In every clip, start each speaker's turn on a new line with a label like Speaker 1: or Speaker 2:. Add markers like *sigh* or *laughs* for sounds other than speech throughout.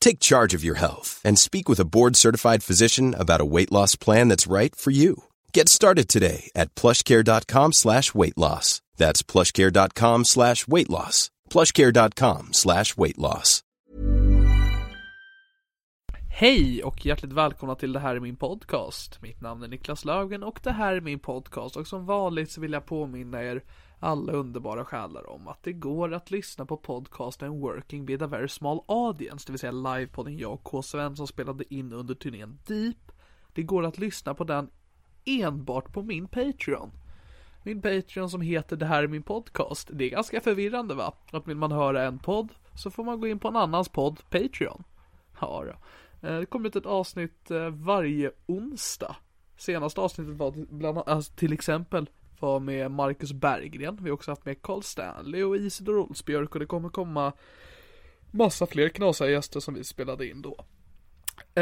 Speaker 1: Take charge of your health and speak with a board-certified physician about a weight loss plan that's right for you. Get started today at plushcare.com slash weight loss. That's plushcare.com slash weight loss. plushcare.com slash weight loss.
Speaker 2: Hej och hjärtligt välkomna till Det här är min podcast. Mitt namn är Niklas Löfgren och det här är min podcast och som vanligt så vill jag påminna er alla underbara själar om att det går att lyssna på podcasten Working with a very small audience, det vill säga livepodden jag och K. Svensson spelade in under turnén Deep. Det går att lyssna på den enbart på min Patreon. Min Patreon som heter Det här är min podcast. Det är ganska förvirrande va? Att vill man höra en podd så får man gå in på en annans podd, Patreon. Ja, då. Eh, Det kommer ut ett avsnitt eh, varje onsdag. Senaste avsnittet var till- bland annat, alltså, till exempel var med Marcus Berggren. Vi har också haft med Carl Stanley och Isidor Olsbjörk och det kommer komma massa fler knasiga gäster som vi spelade in då.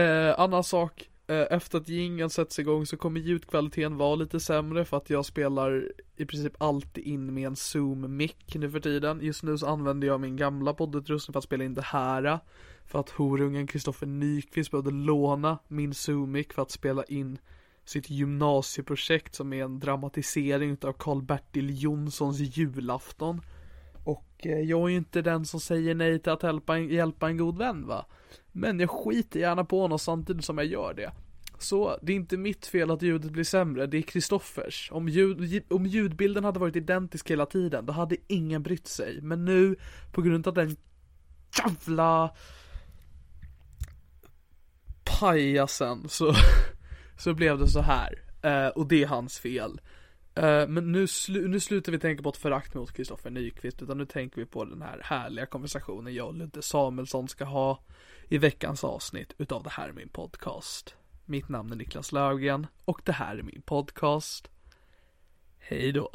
Speaker 2: Eh, annan sak, eh, efter att jingeln sätts igång så kommer ljudkvaliteten vara lite sämre för att jag spelar i princip alltid in med en zoom-mick nu för tiden. Just nu så använder jag min gamla poddutrustning för att spela in det här. För att horungen Kristoffer Nyqvist behövde låna min zoom-mick för att spela in sitt gymnasieprojekt som är en dramatisering utav Karl-Bertil Jonssons julafton. Och eh, jag är ju inte den som säger nej till att hjälpa en, hjälpa en god vän va. Men jag skiter gärna på honom samtidigt som jag gör det. Så det är inte mitt fel att ljudet blir sämre, det är Kristoffers. Om, ljud, om ljudbilden hade varit identisk hela tiden, då hade ingen brytt sig. Men nu, på grund av den jävla pajasen så, *laughs* så blev det så här. Eh, och det är hans fel. Eh, men nu, slu- nu slutar vi tänka på ett förakt mot Kristoffer Nyqvist utan nu tänker vi på den här härliga konversationen jag och Ludde Samuelsson ska ha i veckans avsnitt utav det här är min podcast. Mitt namn är Niklas Löfgren och det här är min podcast. Hej då.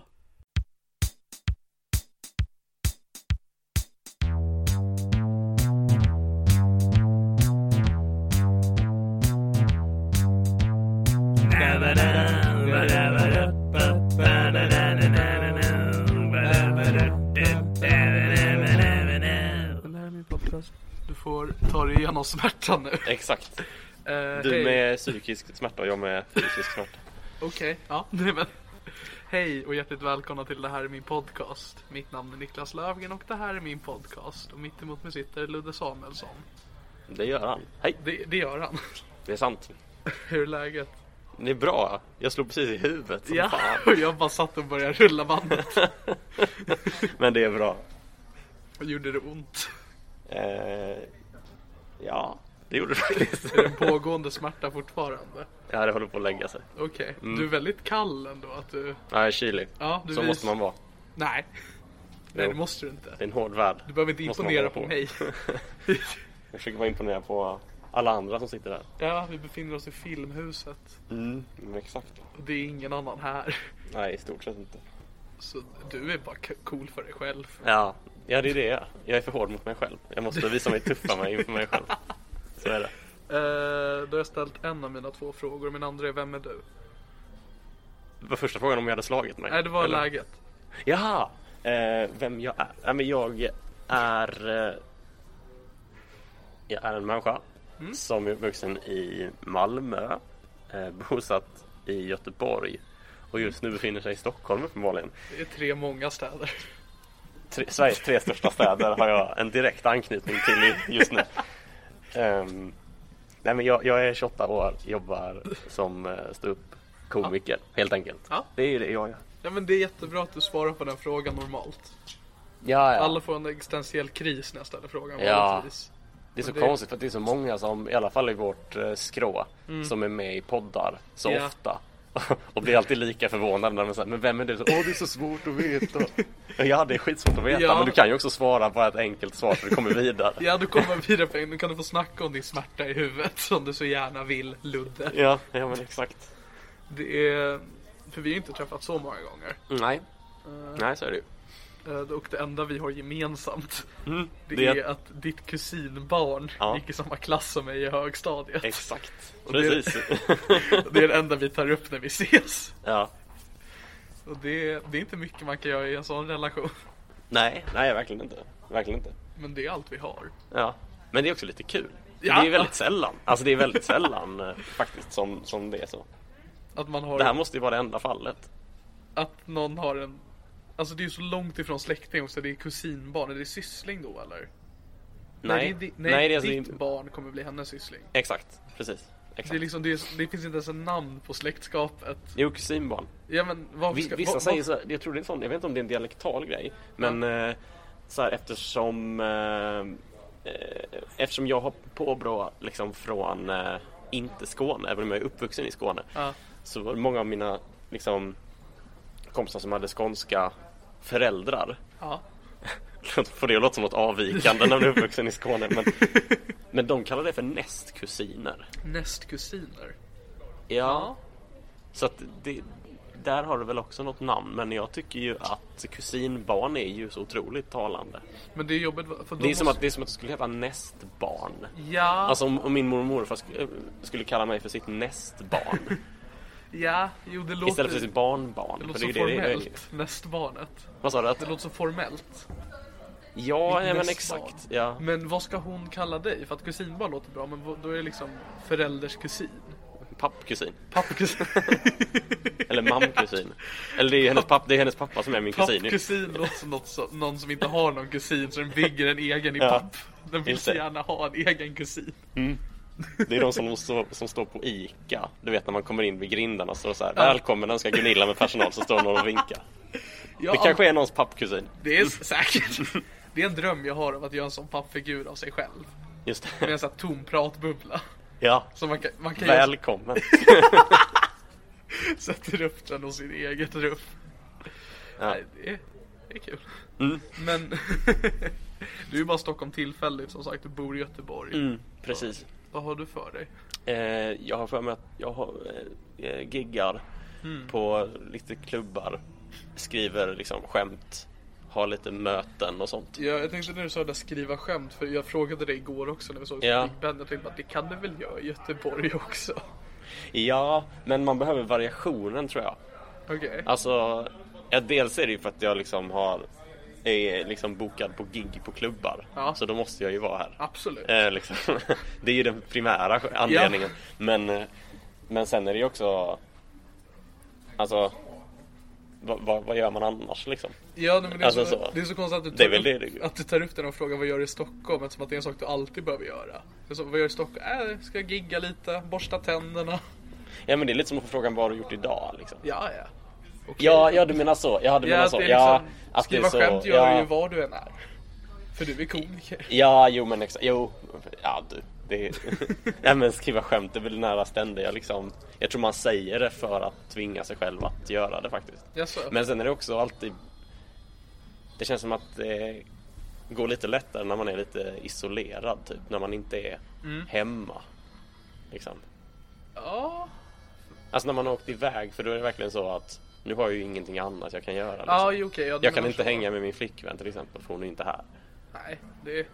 Speaker 2: Det här är min podcast. Du får ta dig igenom smärtan nu.
Speaker 3: Exakt.
Speaker 2: Eh,
Speaker 3: Du
Speaker 2: hej.
Speaker 3: med psykisk smärta och jag med fysisk smärta.
Speaker 2: Okej, ja, nej men. Hej och hjärtligt välkomna till det här är min podcast. Mitt namn är Niklas Löfgren och det här är min podcast. Och mitt emot mig sitter Ludde Samuelsson.
Speaker 3: Det gör han. Hej,
Speaker 2: Det, det gör han. *laughs*
Speaker 3: det är sant.
Speaker 2: Hur är läget? *laughs*
Speaker 3: Det är bra. Jag slog precis i huvudet som fan.
Speaker 2: och jag bara satt och började rulla bandet. *laughs*
Speaker 3: Men det är bra.
Speaker 2: Och gjorde det ont?
Speaker 3: Eh, ja, det gjorde det faktiskt.
Speaker 2: Är det en pågående smärta fortfarande?
Speaker 3: *laughs* Ja, det håller på att lägga sig.
Speaker 2: Okej,
Speaker 3: Mm.
Speaker 2: du är väldigt kall ändå att du...
Speaker 3: Ja, jag är kylig.
Speaker 2: Ja, du
Speaker 3: Så
Speaker 2: vis-
Speaker 3: måste man vara.
Speaker 2: Nej. Nej,
Speaker 3: Jo.
Speaker 2: det måste du inte.
Speaker 3: Det är en hård värld.
Speaker 2: Du behöver inte
Speaker 3: Måste
Speaker 2: imponera
Speaker 3: man
Speaker 2: på
Speaker 3: vara
Speaker 2: mig.
Speaker 3: *laughs*
Speaker 2: *laughs*
Speaker 3: Jag försöker bara imponera på alla andra som sitter där.
Speaker 2: Ja, vi befinner oss i filmhuset.
Speaker 3: Mm, exakt.
Speaker 2: Och det är ingen annan här.
Speaker 3: Nej, i stort sett inte.
Speaker 2: Så du är bara k- cool för dig själv.
Speaker 3: Ja, *laughs* ja det är det jag är. Jag är för hård mot mig själv. Jag måste visa mig tuffare inför mig själv. Så är det.
Speaker 2: Eh, då har jag ställt en av mina två frågor. Min andra är vem är du?
Speaker 3: Det var första frågan om jag hade slagit mig.
Speaker 2: Nej, det var
Speaker 3: Eller-
Speaker 2: läget.
Speaker 3: Jaha! Eh, vem jag är? Nej, men jag är... Eh, jag är en människa
Speaker 2: Mm.
Speaker 3: som är uppvuxen i Malmö, eh, bosatt i Göteborg och just nu befinner sig i Stockholm uppenbarligen.
Speaker 2: Det är tre många städer.
Speaker 3: Tre, Sveriges tre största städer har jag en direkt anknytning till i- just nu. Ehm, nej men jag, jag är 28 år, jobbar som eh, ståuppkomiker helt enkelt.
Speaker 2: Ja.
Speaker 3: Det är ju det jag gör.
Speaker 2: Ja, men det är jättebra att du svarar på den frågan normalt.
Speaker 3: Ja, ja.
Speaker 2: Alla får en existentiell kris när jag ställer frågan.
Speaker 3: Ja.
Speaker 2: vanligtvis.
Speaker 3: Det är så
Speaker 2: Och det-
Speaker 3: konstigt för att det är så många som, i alla fall i vårt eh, skrå, som är med i poddar så
Speaker 2: Mm. Ja.
Speaker 3: ofta. *laughs* och blir alltid lika förvånade när de säger Men vem är du? Så, Åh det är så svårt
Speaker 2: *laughs*
Speaker 3: att veta. ja det är skitsvårt att veta
Speaker 2: Ja.
Speaker 3: men du kan ju också svara på ett enkelt svar så du kommer vidare.
Speaker 2: *laughs* Ja, du kommer vidare på en. Nu kan du få snacka om din smärta i huvudet som du så gärna vill, Ludde.
Speaker 3: ja, ja men exakt.
Speaker 2: Det är... För vi har inte träffats så många gånger.
Speaker 3: Nej. Nej så är det ju.
Speaker 2: Eh, Och det enda vi har gemensamt Mm. det,
Speaker 3: Mm. det är-
Speaker 2: är att ditt kusinbarn
Speaker 3: Ja.
Speaker 2: gick i samma klass som mig i högstadiet.
Speaker 3: Exakt.
Speaker 2: det-
Speaker 3: Precis. *laughs*
Speaker 2: Det är det enda vi tar upp när vi ses.
Speaker 3: ja.
Speaker 2: Och det, det är inte mycket man kan göra i en sån relation.
Speaker 3: Nej, nej verkligen inte. Verkligen inte.
Speaker 2: Men det är allt vi har.
Speaker 3: Ja. Men det är också lite kul.
Speaker 2: Ja.
Speaker 3: Det är väldigt sällan. Alltså det är väldigt sällan eh, faktiskt som, som det är så.
Speaker 2: Att man har...
Speaker 3: Det här måste ju vara det enda fallet.
Speaker 2: Att någon har en... Alltså det är ju så långt ifrån släkting också. Det är kusinbarn. Är det syssling då eller?
Speaker 3: Nej,
Speaker 2: det är, di- nej,
Speaker 3: nej, det är alltså
Speaker 2: ditt
Speaker 3: din-
Speaker 2: barn kommer bli hennes syssling.
Speaker 3: Exakt, precis.
Speaker 2: Det, är
Speaker 3: Exakt.
Speaker 2: liksom, det, är, det finns inte ens en namn på släktskapet.
Speaker 3: Jo, kusinbarn.
Speaker 2: Ja men varför
Speaker 3: Vi-
Speaker 2: ska...
Speaker 3: Vissa
Speaker 2: va-
Speaker 3: säger
Speaker 2: va-
Speaker 3: så här, jag tror det är en sån, jag vet inte om det är en dialektal grej. Men eh, så här, eftersom eh, eh, Eftersom jag har påbrå liksom från eh, inte Skåne, även om jag är uppvuxen i Skåne.
Speaker 2: Ja.
Speaker 3: Så var det många av mina liksom, kompisar som hade skånska föräldrar. *laughs*
Speaker 2: Ja.
Speaker 3: Får det att låta som något avvikande när man är uppvuxen i Skåne.
Speaker 2: *laughs*
Speaker 3: Men, men de kallar det för nästkusiner.
Speaker 2: Nästkusiner.
Speaker 3: Ja. Så att det, där har du väl också något namn men jag tycker ju att kusinbarn är ju så otroligt talande.
Speaker 2: Men det är jobbigt va- för
Speaker 3: Det är,
Speaker 2: måste...
Speaker 3: som att, det är som att du skulle heta nästbarn.
Speaker 2: Ja,
Speaker 3: Alltså om, om min mormor och morfar sk- eh, skulle kalla mig för
Speaker 2: *laughs*
Speaker 3: sitt nästbarn
Speaker 2: ja, jo det låter...
Speaker 3: istället för liksom sitt barnbarn.
Speaker 2: Det
Speaker 3: För
Speaker 2: låter
Speaker 3: är
Speaker 2: så
Speaker 3: ju
Speaker 2: formellt. Nästbarnet.
Speaker 3: Vad sa du? Att,
Speaker 2: Det låter så formellt.
Speaker 3: ja,
Speaker 2: mitt
Speaker 3: ja men
Speaker 2: nästbarn.
Speaker 3: exakt. Ja.
Speaker 2: Men vad ska hon kalla dig? För att kusinbarn låter bra, men vad- då är det liksom förälders kusin.
Speaker 3: Pappkusin.
Speaker 2: Pappkusin.
Speaker 3: *laughs* Eller mamkusin. Eller det är ju hennes, papp, det är hennes pappa som är min kusin. ju.
Speaker 2: Pappkusin låter som något som, någon som inte har någon kusin så den bygger en egen i
Speaker 3: Ja,
Speaker 2: papp. Den vill
Speaker 3: just
Speaker 2: så
Speaker 3: det.
Speaker 2: gärna ha en egen kusin.
Speaker 3: Det är de som, står- som står på ICA. Du vet när man kommer in vid grindarna så är det så här. Välkommen önskar Gunilla med personal. Så står någon och vinkar.
Speaker 2: Ja,
Speaker 3: Det kanske är någons pappkusin.
Speaker 2: det är säkert. Det är en dröm jag har av att göra en sån pappfigur av sig själv.
Speaker 3: Just
Speaker 2: Med
Speaker 3: det.
Speaker 2: en sån här tom pratbubbla.
Speaker 3: Ja.
Speaker 2: Så man kan, man kan göra
Speaker 3: Välkommen.
Speaker 2: sätter upp den och sin eget rum. Nej, det är, det är kul.
Speaker 3: Mm.
Speaker 2: Men *laughs* du är ju bara i Stockholm tillfälligt som sagt, du bor i Göteborg.
Speaker 3: Mm. Precis.
Speaker 2: Vad har du för dig?
Speaker 3: Eh, jag har för mig att jag har, eh, eh, giggar på lite klubbar. Skriver liksom skämt. Har lite möten och sånt.
Speaker 2: Ja, jag tänkte när du sa det där skriva skämt, för jag frågade dig igår också när vi såg
Speaker 3: Ja.
Speaker 2: Big Ben. Jag tänkte att det kan du väl göra i Göteborg också? *laughs*
Speaker 3: Ja, men man behöver variationen tror jag.
Speaker 2: Okej.
Speaker 3: Alltså, ja, dels är det ju för att jag liksom har är liksom bokad på gig på klubbar.
Speaker 2: Ja.
Speaker 3: Så då måste jag ju vara här.
Speaker 2: Absolut.
Speaker 3: Eh, liksom. *laughs* det är ju den primära anledningen. Men, eh, men sen är det ju också... Alltså, vad, vad, vad gör man annars liksom?
Speaker 2: Ja, nej, men det, är
Speaker 3: Alltså
Speaker 2: så,
Speaker 3: så.
Speaker 2: det är så konstigt att du, tar
Speaker 3: Det är väl
Speaker 2: upp,
Speaker 3: det det-
Speaker 2: att du tar upp den och frågar vad gör du i Stockholm eftersom att det är en sak du alltid behöver göra. Det är Så, vad gör du i Stockholm? Äh, ska jag gigga lite, borsta tänderna. *laughs*
Speaker 3: Ja men det är lite som att få frågan vad har du gjort idag liksom.
Speaker 2: Ja, ja. Okej.
Speaker 3: Ja, ja du menar så. Ja, du menar
Speaker 2: Ja,
Speaker 3: så.
Speaker 2: det är
Speaker 3: ja,
Speaker 2: liksom,
Speaker 3: att det är
Speaker 2: skriva
Speaker 3: så.
Speaker 2: skämt gör du
Speaker 3: ja,
Speaker 2: ju var du än är. För du är komiker.
Speaker 3: ja, jo men exakt. Jo, ja du. Det är... *laughs* Nej men skriva skämt är väl nära ständiga liksom. Jag tror man säger det för att tvinga sig själv att göra det faktiskt.
Speaker 2: Jaså?
Speaker 3: Men sen är det också alltid Det känns som att det går lite lättare när man är lite isolerad typ När man inte är
Speaker 2: Mm.
Speaker 3: hemma liksom.
Speaker 2: Ja,
Speaker 3: Alltså när man har åkt iväg för då är det verkligen så att Nu har jag ju ingenting annat jag kan göra liksom.
Speaker 2: ja jo, okej. ja, du
Speaker 3: Jag kan
Speaker 2: menar
Speaker 3: inte
Speaker 2: så.
Speaker 3: hänga med min flickvän till exempel för hon är inte här
Speaker 2: Nej, det,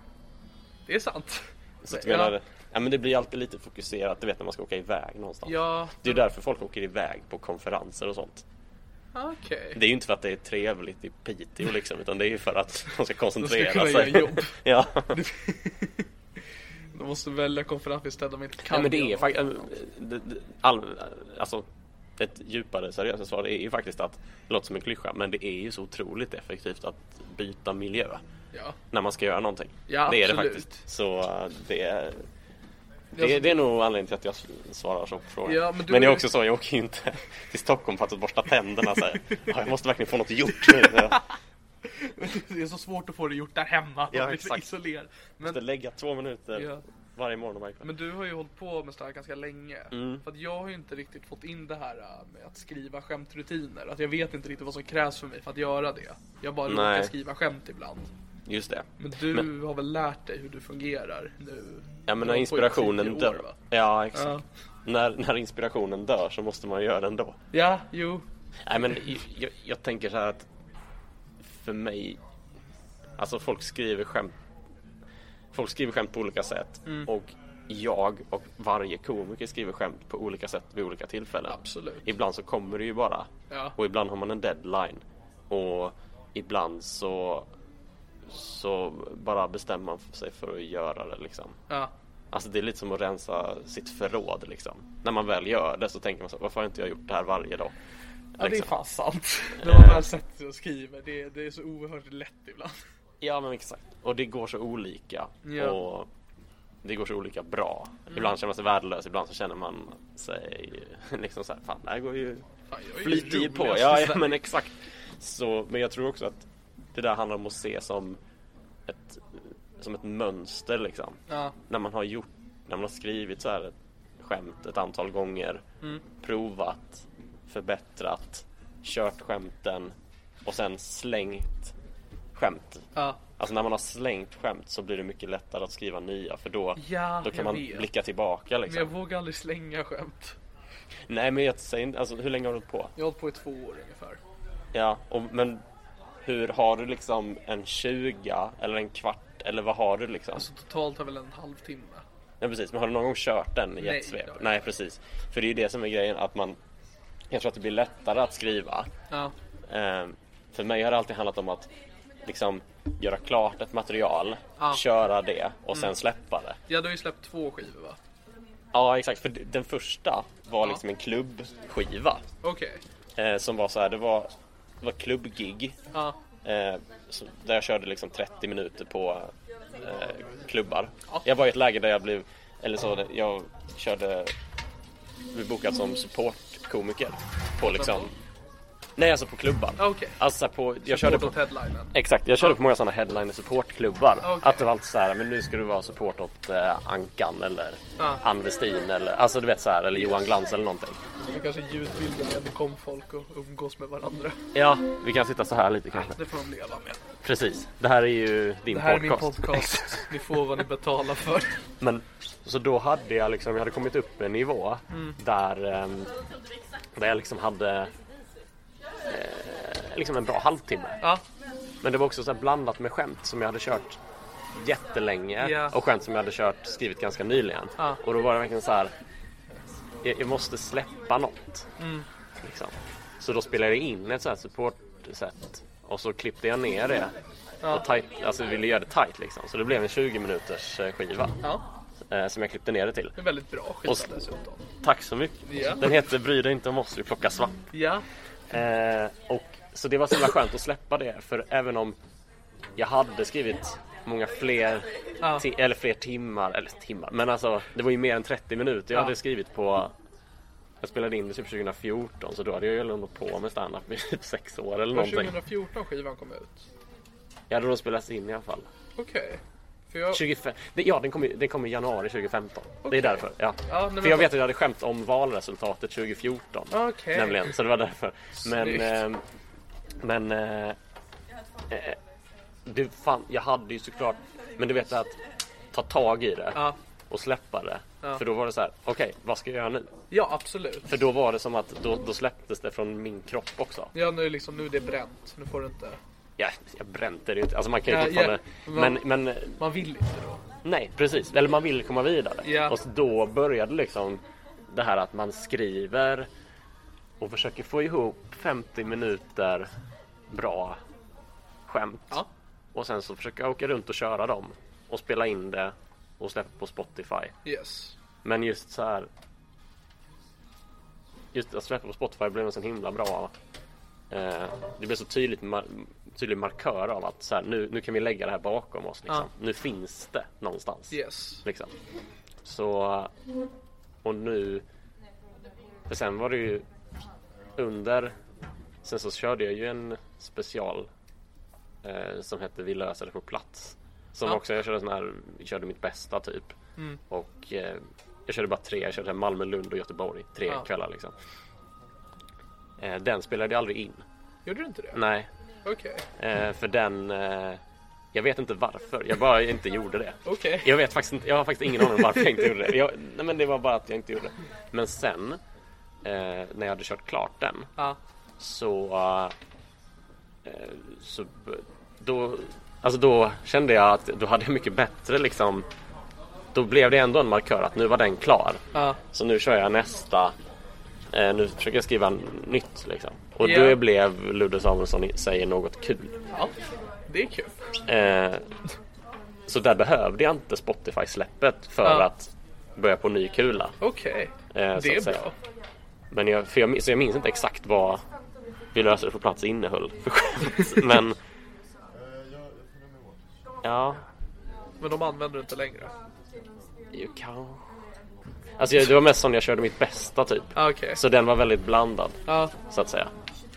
Speaker 2: det är sant.
Speaker 3: Så att
Speaker 2: Ja.
Speaker 3: jag menar, Ja, men det blir alltid lite fokuserat, du vet när man ska åka iväg någonstans.
Speaker 2: Ja,
Speaker 3: Det är ju därför folk åker iväg på konferenser och sånt.
Speaker 2: okej.
Speaker 3: Det är ju inte för att det är trevligt i Piteå liksom, utan det är ju för att de
Speaker 2: De
Speaker 3: ska koncentrera
Speaker 2: ska kunna
Speaker 3: sig.
Speaker 2: göra jobb.
Speaker 3: *laughs* ja.
Speaker 2: De måste välja konferens istället om de inte kan.
Speaker 3: ja, men det är
Speaker 2: göra
Speaker 3: faktiskt...
Speaker 2: något.
Speaker 3: All... Alltså, ett djupare seriöst svar det är ju faktiskt att, det låter som en klyscha, men det är ju så otroligt effektivt att byta miljö
Speaker 2: Ja.
Speaker 3: när man ska göra någonting.
Speaker 2: Ja,
Speaker 3: det är det
Speaker 2: absolut.
Speaker 3: faktiskt. Så äh, det är... Det är,
Speaker 2: Alltså-
Speaker 3: det är nog anledningen till att jag s- svarar så på frågan.
Speaker 2: Ja, men
Speaker 3: men,
Speaker 2: du-
Speaker 3: det är också så, jag åker ju inte *laughs* till Stockholm för att borsta tänderna
Speaker 2: *laughs*
Speaker 3: så här. Ja, jag måste verkligen få något gjort nu. Jag
Speaker 2: *laughs* Det är så svårt att få det gjort där hemma.
Speaker 3: Ja,
Speaker 2: Man blir så
Speaker 3: exakt.
Speaker 2: isolerad.
Speaker 3: måste
Speaker 2: Men,
Speaker 3: lägga två minuter
Speaker 2: Ja.
Speaker 3: varje morgon och varje kväll.
Speaker 2: men du har ju hållit på med sånt här ganska länge.
Speaker 3: Mm.
Speaker 2: För att jag har ju inte riktigt fått in det här äh, med att skriva skämtrutiner. Att jag vet inte riktigt vad som krävs för mig för att göra det. Jag bara råkar
Speaker 3: Nej.
Speaker 2: skriva skämt ibland.
Speaker 3: Just det.
Speaker 2: Men du har väl lärt dig hur du fungerar nu?
Speaker 3: Ja men
Speaker 2: Du
Speaker 3: när
Speaker 2: har
Speaker 3: inspirationen
Speaker 2: hållit på i typ tio år,
Speaker 3: dör.
Speaker 2: va?
Speaker 3: Ja exakt.
Speaker 2: Ja.
Speaker 3: När, när inspirationen dör så måste man göra det ändå.
Speaker 2: Ja, jo.
Speaker 3: Nej men jag- jag, jag tänker så här att för mig, alltså folk skriver skämt, folk skriver skämt på olika sätt
Speaker 2: Mm.
Speaker 3: och jag och varje komiker skriver skämt på olika sätt vid olika tillfällen.
Speaker 2: Absolut.
Speaker 3: Ibland så kommer det ju bara
Speaker 2: Ja.
Speaker 3: och ibland har man en deadline och ibland så så bara bestämmer man sig för att göra det liksom.
Speaker 2: Ja.
Speaker 3: Alltså det är lite som att rensa sitt förråd liksom. När man väl gör det så tänker man så här, varför har inte jag gjort det här varje dag?
Speaker 2: Ja det är
Speaker 3: Liksom.
Speaker 2: fan sant. När man väl sätter sig och skriver, det är, det är så oerhört lätt ibland.
Speaker 3: Ja men exakt. Och det går så olika.
Speaker 2: Ja. Mm.
Speaker 3: Och det går så olika bra. Ibland känner man sig värdelös, ibland så känner man sig *laughs* liksom så här, fan det här går ju,
Speaker 2: Fan, jag är ju alltså.
Speaker 3: flyter ju på.
Speaker 2: roligast
Speaker 3: Ja,
Speaker 2: i *laughs*
Speaker 3: ja
Speaker 2: Sverige.
Speaker 3: men exakt. Så, men jag tror också att det där handlar om att se som ett, som ett mönster liksom.
Speaker 2: Ja.
Speaker 3: när man har gjort, när man har skrivit så här ett skämt ett antal gånger,
Speaker 2: Mm.
Speaker 3: provat, förbättrat, kört skämten och sen slängt skämt.
Speaker 2: Ja.
Speaker 3: Alltså när man har slängt skämt så blir det mycket lättare att skriva nya för då,
Speaker 2: Ja,
Speaker 3: då kan
Speaker 2: jag
Speaker 3: man
Speaker 2: vet.
Speaker 3: blicka tillbaka
Speaker 2: Men jag
Speaker 3: liksom.
Speaker 2: vågar aldrig slänga skämt.
Speaker 3: Nej men jag säger inte, alltså hur länge har du hållit på?
Speaker 2: Jag har hållit på i två år ungefär.
Speaker 3: Ja, och, men hur har du liksom en 20 eller en kvart eller vad har du liksom?
Speaker 2: Alltså totalt har väl en halvtimme.
Speaker 3: Ja precis, men har du någon gång kört den i
Speaker 2: Nej,
Speaker 3: ett svep?
Speaker 2: det har jag
Speaker 3: Nej precis. För det är ju det som är grejen att man Jag tror att det blir lättare att skriva.
Speaker 2: Ja.
Speaker 3: Ehm, för mig har det alltid handlat om att liksom göra klart ett material,
Speaker 2: Ja. Mm.
Speaker 3: köra det och sen släppa det.
Speaker 2: Ja, du har ju släppt två skivor va?
Speaker 3: Ja exakt, för d- den första var liksom en klubbskiva.
Speaker 2: Okej.
Speaker 3: eh, som var så här, det var, det var klubbgig.
Speaker 2: Ja.
Speaker 3: Eh, så- där jag körde liksom 30 minuter på eh, klubbar. Jag var i ett läge där jag blev, eller så, jag körde, blev bokad som supportkomiker på liksom, nej alltså på klubbar.
Speaker 2: Ah, okej.
Speaker 3: Alltså på, jag körde på,
Speaker 2: Bortåt headlinen.
Speaker 3: exakt, jag körde på många sådana headline supportklubbar.
Speaker 2: Ah, Okej.
Speaker 3: Att det var alltid så här, men nu ska du vara support åt eh, Ankan eller
Speaker 2: Ja.
Speaker 3: Ann Westin eller, alltså du vet så här, eller Johan Glans eller någonting.
Speaker 2: Det kanske är ljudbilden när det kom folk och umgås med varandra.
Speaker 3: Ja, vi kan sitta så här lite kanske.
Speaker 2: Det får de leva med.
Speaker 3: Precis, det här är ju din
Speaker 2: Det här är min
Speaker 3: podcast.
Speaker 2: podcast. *laughs* Ni får vad ni betalar för.
Speaker 3: Men så då hade jag liksom, jag hade kommit upp en nivå där, ehm, där jag liksom hade eh, liksom en bra halvtimme.
Speaker 2: Ja.
Speaker 3: Men det var också så här blandat med skämt som jag hade kört jättelänge
Speaker 2: Ja.
Speaker 3: och skämt som jag hade kört, skrivit ganska nyligen.
Speaker 2: Ja.
Speaker 3: Och då var det verkligen så här, jag, jag måste släppa något.
Speaker 2: Mm.
Speaker 3: Liksom. Så då spelade jag in ett så här support-set och så klippte jag ner det. Och tight, alltså ville göra det tight liksom. Så det blev en 20 minuters eh, skiva
Speaker 2: Ja.
Speaker 3: eh, som jag klippte ner det till.
Speaker 2: Det är väldigt bra skiva
Speaker 3: Och så-
Speaker 2: dessutom.
Speaker 3: Tack så mycket.
Speaker 2: Ja.
Speaker 3: Den heter Bry dig inte om oss, vi plockar svamp.
Speaker 2: Ja.
Speaker 3: Eh, och, så det var så himla skönt att släppa det för även om jag hade skrivit många fler,
Speaker 2: Ja.
Speaker 3: ti- eller fler timmar, eller timmar, men alltså det var ju mer än 30 minuter jag
Speaker 2: Ja.
Speaker 3: hade skrivit på jag spelade in det typ 2014 så då hade jag ju ändå på med standup i typ 6 år eller
Speaker 2: Var
Speaker 3: någonting.
Speaker 2: 2014 skivan kom ut?
Speaker 3: Jag hade då spelats in i alla fall.
Speaker 2: Okej. För jag...
Speaker 3: 25, det, ja, den kom, i- den kom i januari 2015. Det är därför. Ja.
Speaker 2: Ja, nej, men-
Speaker 3: För jag vet att jag hade skämt om valresultatet 2014.
Speaker 2: Okej.
Speaker 3: Nämligen, så det var därför. Men...
Speaker 2: Snyggt.
Speaker 3: ehm, men... Eh, eh, det fan, jag hade ju såklart... Men du vet att ta tag i det
Speaker 2: Ja.
Speaker 3: och släppa det.
Speaker 2: Ja.
Speaker 3: För då var det så här, okej, vad ska jag göra nu?
Speaker 2: Ja, absolut.
Speaker 3: För då var det som att då, då släpptes det från min kropp också.
Speaker 2: Ja, nu, är liksom, nu är det bränt. Nu får du inte...
Speaker 3: Ja, jag brände det ju inte. Alltså man kan ju
Speaker 2: Ja,
Speaker 3: fortfarande...
Speaker 2: ja.
Speaker 3: Men, men
Speaker 2: Man vill inte då.
Speaker 3: nej, precis. Eller man vill komma vidare.
Speaker 2: Ja.
Speaker 3: Och så då började liksom det här att man skriver och försöker få ihop 50 minuter bra skämt.
Speaker 2: Ja.
Speaker 3: Och sen så försöker jag åka runt och köra dem och spela in det och släppa på Spotify.
Speaker 2: Yes.
Speaker 3: Men just så här. Just att släppa på Spotify blev en sån himla bra. Eh, det blev så tydligt mar- tydlig markör av att så här, nu, nu kan vi lägga det här bakom oss. Liksom. Nu finns det någonstans.
Speaker 2: Yes.
Speaker 3: Liksom. Så och nu. För sen var det ju under. Sen så körde jag ju en special eh, som hette Vi löser det på plats. Som
Speaker 2: Ja. Mm.
Speaker 3: också jag körde sån här, körde mitt bästa typ. Och eh, jag körde bara tre, jag körde så här Malmö, Lund och Göteborg. Tre
Speaker 2: Ja.
Speaker 3: kvällar liksom. Eh, den spelade jag aldrig in.
Speaker 2: Gjorde du inte det?
Speaker 3: Nej,
Speaker 2: Okej.
Speaker 3: eh, för den... Eh, jag vet inte varför, jag bara inte gjorde det.
Speaker 2: Okej.
Speaker 3: Jag vet faktiskt inte, jag har faktiskt ingen aning om varför jag inte gjorde det. Jag, nej men det var bara att jag inte gjorde det. Men sen, eh, när jag hade kört klart den,
Speaker 2: Ja.
Speaker 3: så... eh, så då, alltså då kände jag att då hade jag mycket bättre liksom. Då blev det ändå en markör att nu var den klar.
Speaker 2: Ja.
Speaker 3: Så nu kör jag nästa. Eh, nu försöker jag skriva nytt liksom. Och
Speaker 2: Ja.
Speaker 3: då blev Ludde Samuelsson i- säger något kul.
Speaker 2: ja. Det är kul.
Speaker 3: Eh, så där behövde jag inte Spotify-släppet för
Speaker 2: Ja.
Speaker 3: att börja på ny kula.
Speaker 2: Okej.
Speaker 3: Eh, så
Speaker 2: Det
Speaker 3: att
Speaker 2: är
Speaker 3: säga.
Speaker 2: bra.
Speaker 3: Men jag, för jag, min- så jag minns inte exakt vad vi löser det på plats innehöll för skämt. *laughs* Men... Ja,
Speaker 2: Men de använder det inte längre.
Speaker 3: ju kanske. Alltså jag, det var mest sån jag körde mitt bästa typ.
Speaker 2: Ah, Okej.
Speaker 3: Så den var väldigt blandad
Speaker 2: Ja.
Speaker 3: så att säga.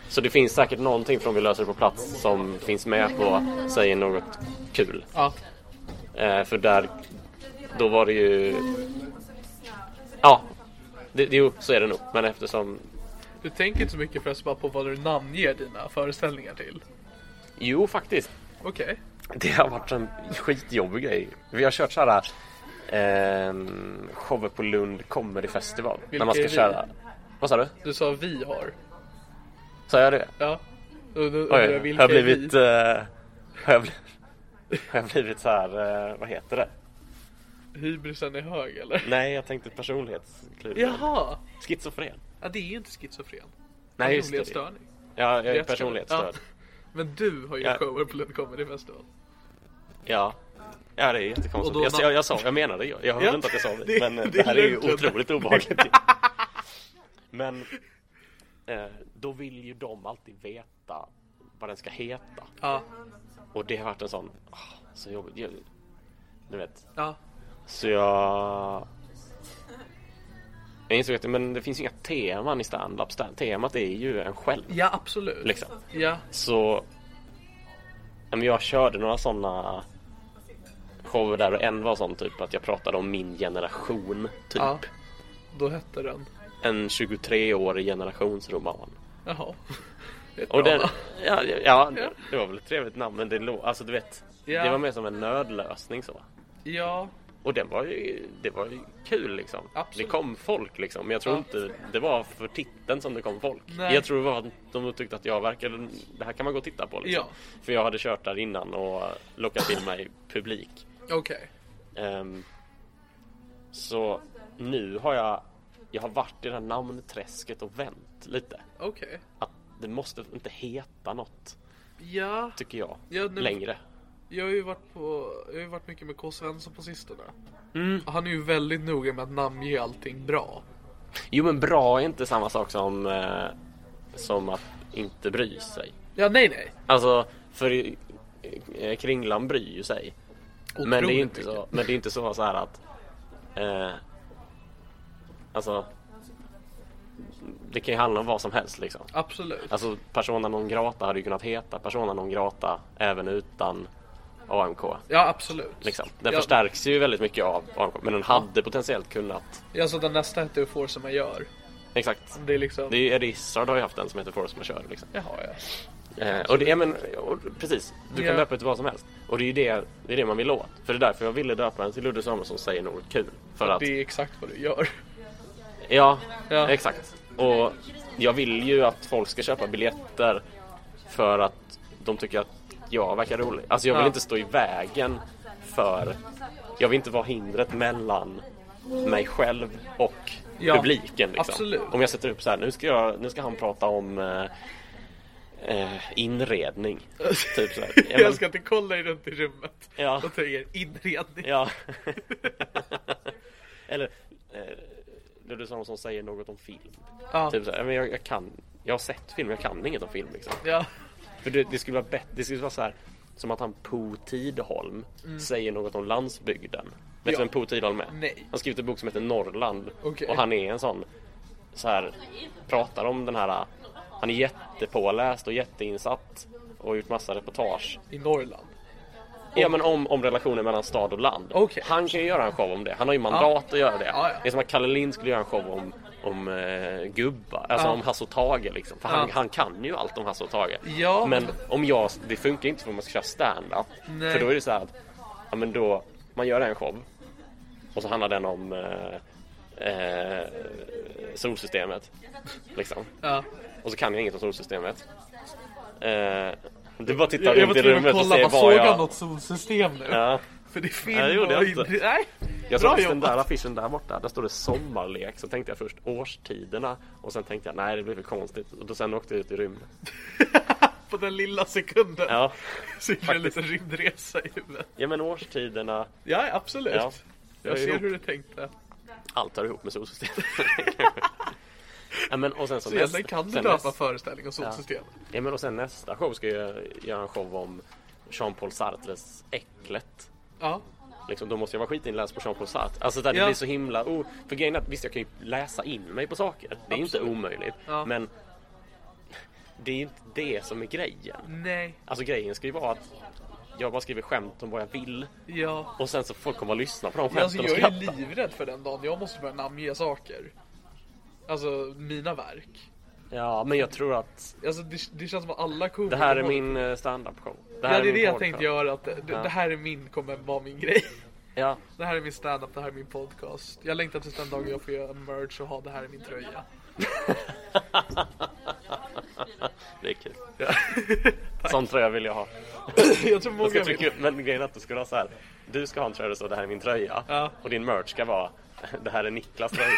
Speaker 3: Så det finns säkert någonting från vi löser det på plats som finns med på säger något kul.
Speaker 2: Ja.
Speaker 3: Eh, för där, då var det ju... Ja, det, jo så är det nog. Men eftersom...
Speaker 2: Du tänker inte så mycket förresten bara på vad du namnger dina föreställningar till.
Speaker 3: Jo faktiskt.
Speaker 2: Okej.
Speaker 3: Det har varit en skitjobbig grej. Vi har kört såhär eh, shower på Lund Comedy Festival. när man ska
Speaker 2: är vi?
Speaker 3: köra... Vad sa du?
Speaker 2: Du sa vi har.
Speaker 3: Sa jag det?
Speaker 2: Ja. Och då undrar jag
Speaker 3: Oj,
Speaker 2: vilka
Speaker 3: har jag
Speaker 2: är
Speaker 3: blivit...
Speaker 2: vi?
Speaker 3: Eh, har, jag blivit *laughs* har jag blivit så här, eh, vad heter det?
Speaker 2: Hybrisen är hög eller?
Speaker 3: Nej, jag tänkte personlighetskluven.
Speaker 2: Jaha.
Speaker 3: Schizofren.
Speaker 2: Ja, det är ju inte schizofren.
Speaker 3: Nej, just det. Ja,
Speaker 2: Personlighetsstörning.
Speaker 3: jag är
Speaker 2: Rätt-
Speaker 3: personlighetsstörd.
Speaker 2: Ja. Men du har ju
Speaker 3: Ja.
Speaker 2: shower på Lund Comedy Festival.
Speaker 3: Ja. Ja, det är
Speaker 2: Och
Speaker 3: jättekonstigt.
Speaker 2: då-
Speaker 3: Jag, jag, jag, sa, jag menade ju. Jag hörde
Speaker 2: Ja,
Speaker 3: inte att jag sa det.
Speaker 2: *laughs* det-
Speaker 3: men eh,
Speaker 2: det
Speaker 3: det,
Speaker 2: är
Speaker 3: här är ju
Speaker 2: lugnt. *laughs*
Speaker 3: otroligt obehagligt. ju. men eh, då vill ju de alltid veta vad den ska heta.
Speaker 2: Ja.
Speaker 3: Och det har varit en sån... ah, så jobbigt. Jag, du vet.
Speaker 2: Ja.
Speaker 3: Så jag... Jag insåg att men det finns ju inga teman i standup. Stand- Temat är ju en själv.
Speaker 2: Ja, absolut.
Speaker 3: Liksom.
Speaker 2: Ja.
Speaker 3: Så ja, men jag körde några sådana shower där och en var sån typ att jag pratade om min generation. Typ.
Speaker 2: Ja. Då hette den.
Speaker 3: En 23-årig generationsroman.
Speaker 2: Jaha. Det är ett
Speaker 3: Och
Speaker 2: bra
Speaker 3: den,
Speaker 2: namn.
Speaker 3: ja, ja, ja, det var väl ett trevligt namn men det, lå- alltså, du vet,
Speaker 2: Ja.
Speaker 3: det var mer som en nödlösning så.
Speaker 2: Ja.
Speaker 3: Och den var ju, det var ju kul liksom.
Speaker 2: Absolut.
Speaker 3: Det kom folk liksom. Men jag tror
Speaker 2: Ja.
Speaker 3: inte det var för titeln som det kom folk.
Speaker 2: Nej.
Speaker 3: Jag tror det var att de tyckte att jag verkade, det här kan man gå och titta på liksom. För jag hade kört där innan och lockat till mig publik.
Speaker 2: Okej.
Speaker 3: Ehm, så nu har jag, jag har varit i det här namnträsket och vänt lite.
Speaker 2: Okej.
Speaker 3: Att det måste inte heta något,
Speaker 2: Ja.
Speaker 3: tycker jag,
Speaker 2: Ja, nu-
Speaker 3: längre.
Speaker 2: Jag har ju varit på, jag har ju varit mycket med K. Svensson på sistone.
Speaker 3: Mm.
Speaker 2: Han är ju väldigt noga med att namnge allting bra.
Speaker 3: Jo men bra är inte samma sak som, eh, som att inte bry sig.
Speaker 2: Ja, nej, nej.
Speaker 3: Alltså, för i- eh, Kringlan bryr ju sig. Men det är ju inte så, men det är inte så, så här att... Eh, alltså... Det kan ju handla om vad som helst liksom.
Speaker 2: Absolut.
Speaker 3: Alltså Persona non grata hade ju kunnat heta Persona non grata även utan AMK.
Speaker 2: Ja, absolut.
Speaker 3: Liksom. Den
Speaker 2: ja,
Speaker 3: förstärks ju väldigt mycket av AMK men den hade potentiellt kunnat.
Speaker 2: Ja, så den nästa hette ju Får som man gör.
Speaker 3: Exakt.
Speaker 2: Det är liksom...
Speaker 3: Det är Rissard har ju haft en som heter Force Majeure liksom.
Speaker 2: Jaha, ja.
Speaker 3: Eh, och det, ja, men, och, precis, du
Speaker 2: Ja.
Speaker 3: kan döpa det till vad som helst. Och det är ju det, det, är det man vill åt. För det är därför jag ville döpa den till Ludde Samuelsson säger något kul. För att,
Speaker 2: Det är exakt vad du gör.
Speaker 3: ja,
Speaker 2: Ja.
Speaker 3: exakt. Och jag vill ju att folk ska köpa biljetter för att de tycker att jag verkar rolig. Alltså jag vill inte stå i vägen för... Jag vill inte vara hindret mellan mig själv och
Speaker 2: Ja,
Speaker 3: publiken. Liksom.
Speaker 2: absolut.
Speaker 3: Om jag sätter upp så här, nu ska, jag, nu ska han prata om eh, eh, inredning. *laughs* typ
Speaker 2: *laughs*
Speaker 3: så här. Ja, men-
Speaker 2: Jag ska inte kolla dig runt i rummet.
Speaker 3: Ja.
Speaker 2: Och tänker inredning.
Speaker 3: Ja. *laughs* Eller eh, det är du som säger något om film.
Speaker 2: Ja.
Speaker 3: Typ så här, men jag, jag kan, jag har sett film, jag kan inget om film liksom.
Speaker 2: Ja.
Speaker 3: För det, det skulle vara bättre, det skulle vara så här som att han Po Tidholm säger något om landsbygden. Vet du
Speaker 2: Mm. Ja.
Speaker 3: vem Po Tidholm är?
Speaker 2: Nej.
Speaker 3: Han har skrivit en bok som heter Norrland
Speaker 2: Okej.
Speaker 3: och han är en sån så här pratar om den här han är jättepåläst och jätteinsatt och har gjort massa reportage
Speaker 2: I Norrland.
Speaker 3: Ja men om, om relationen mellan stad och land.
Speaker 2: Okej.
Speaker 3: Han kan ju göra en show om det. Han har ju mandat att göra det.
Speaker 2: Ja, ja.
Speaker 3: Det är som att Kalle Lind skulle göra en show om, om eh, gubbar, alltså
Speaker 2: Ja.
Speaker 3: om Hasse och Tage liksom. För han,
Speaker 2: Ja.
Speaker 3: han kan ju allt om Hasse och Tage.
Speaker 2: Ja.
Speaker 3: Men om jag, det funkar inte för om man ska köra stand-up.
Speaker 2: Nej.
Speaker 3: För då är det så här att, ja men då, man gör en show. Och så handlar den om eh, eh, solsystemet. Liksom.
Speaker 2: Ja.
Speaker 3: Och så kan jag inget om solsystemet. Eh, du bara tittar
Speaker 2: Jag, jag var
Speaker 3: runt i
Speaker 2: tvungen att
Speaker 3: rummet och
Speaker 2: kolla,
Speaker 3: ser
Speaker 2: vad
Speaker 3: vad
Speaker 2: såg han
Speaker 3: jag...
Speaker 2: något solsystem nu?
Speaker 3: Ja.
Speaker 2: För det är film
Speaker 3: Nej, det gjorde
Speaker 2: och
Speaker 3: jag inte.
Speaker 2: inre- Nej.
Speaker 3: Jag
Speaker 2: Bra
Speaker 3: såg just den
Speaker 2: jobbat.
Speaker 3: där affischen där borta. Där står det sommarlek. Så tänkte jag först årstiderna och sen tänkte jag nej det blir för konstigt. Och då sen åkte jag ut i rymden.
Speaker 2: På den lilla sekunden.
Speaker 3: Ja,
Speaker 2: *laughs* Så gjorde jag en liten rymdresa i huvudet.
Speaker 3: ja men årstiderna,
Speaker 2: Ja, absolut.
Speaker 3: Ja.
Speaker 2: Jag
Speaker 3: Det är
Speaker 2: ser
Speaker 3: ihop.
Speaker 2: hur du tänkte.
Speaker 3: allt hör ihop
Speaker 2: *laughs*
Speaker 3: med solsystemet. ja, men, och sen så
Speaker 2: Så egentligen
Speaker 3: nästa,
Speaker 2: kan du
Speaker 3: sen
Speaker 2: döpa
Speaker 3: nästa-
Speaker 2: föreställning och solsystem.
Speaker 3: ja, men, och sen nästa show ska jag göra en show om Jean-Paul Sartres Äcklet.
Speaker 2: Ja.
Speaker 3: Liksom, då måste jag vara skitinläst på Jean-Paul Sartre. Alltså där det
Speaker 2: Ja.
Speaker 3: blir så himla... Oh, för grejen är att visst, jag kan ju läsa in mig på saker. Det är inte
Speaker 2: Absolut.
Speaker 3: omöjligt.
Speaker 2: Ja.
Speaker 3: Men det är ju inte det som är grejen.
Speaker 2: Nej.
Speaker 3: Alltså grejen ska ju vara att jag bara skriver skämt om vad jag vill
Speaker 2: Ja.
Speaker 3: och sen så får folk komma och lyssna på de
Speaker 2: Men Alltså,
Speaker 3: skämten och
Speaker 2: jag är
Speaker 3: skratta.
Speaker 2: livrädd för den dagen jag måste börja namnge saker. Alltså mina verk.
Speaker 3: Ja, men jag tror att
Speaker 2: Alltså det, det känns som att alla komiker
Speaker 3: det här är
Speaker 2: har-
Speaker 3: min eh, stand-up show. Det här
Speaker 2: Ja det är
Speaker 3: min
Speaker 2: det jag
Speaker 3: podcast.
Speaker 2: tänkte göra att det, det här är min, kommer vara min grej. *laughs*
Speaker 3: Ja,
Speaker 2: Det här är min standup, det här är min podcast. Jag längtar tills den dagen jag får göra en merch och ha det här i min tröja. *laughs*
Speaker 3: det är kul.
Speaker 2: *laughs*
Speaker 3: Sån tröja vill jag ha.
Speaker 2: jag tror
Speaker 3: Jag
Speaker 2: många
Speaker 3: ska
Speaker 2: vill.
Speaker 3: trycka upp, men grejen är att du skulle ha så här. Du ska ha en tröja där det står det här är min tröja.
Speaker 2: Ja.
Speaker 3: Och din merch ska vara *laughs* det här är Niklas tröja.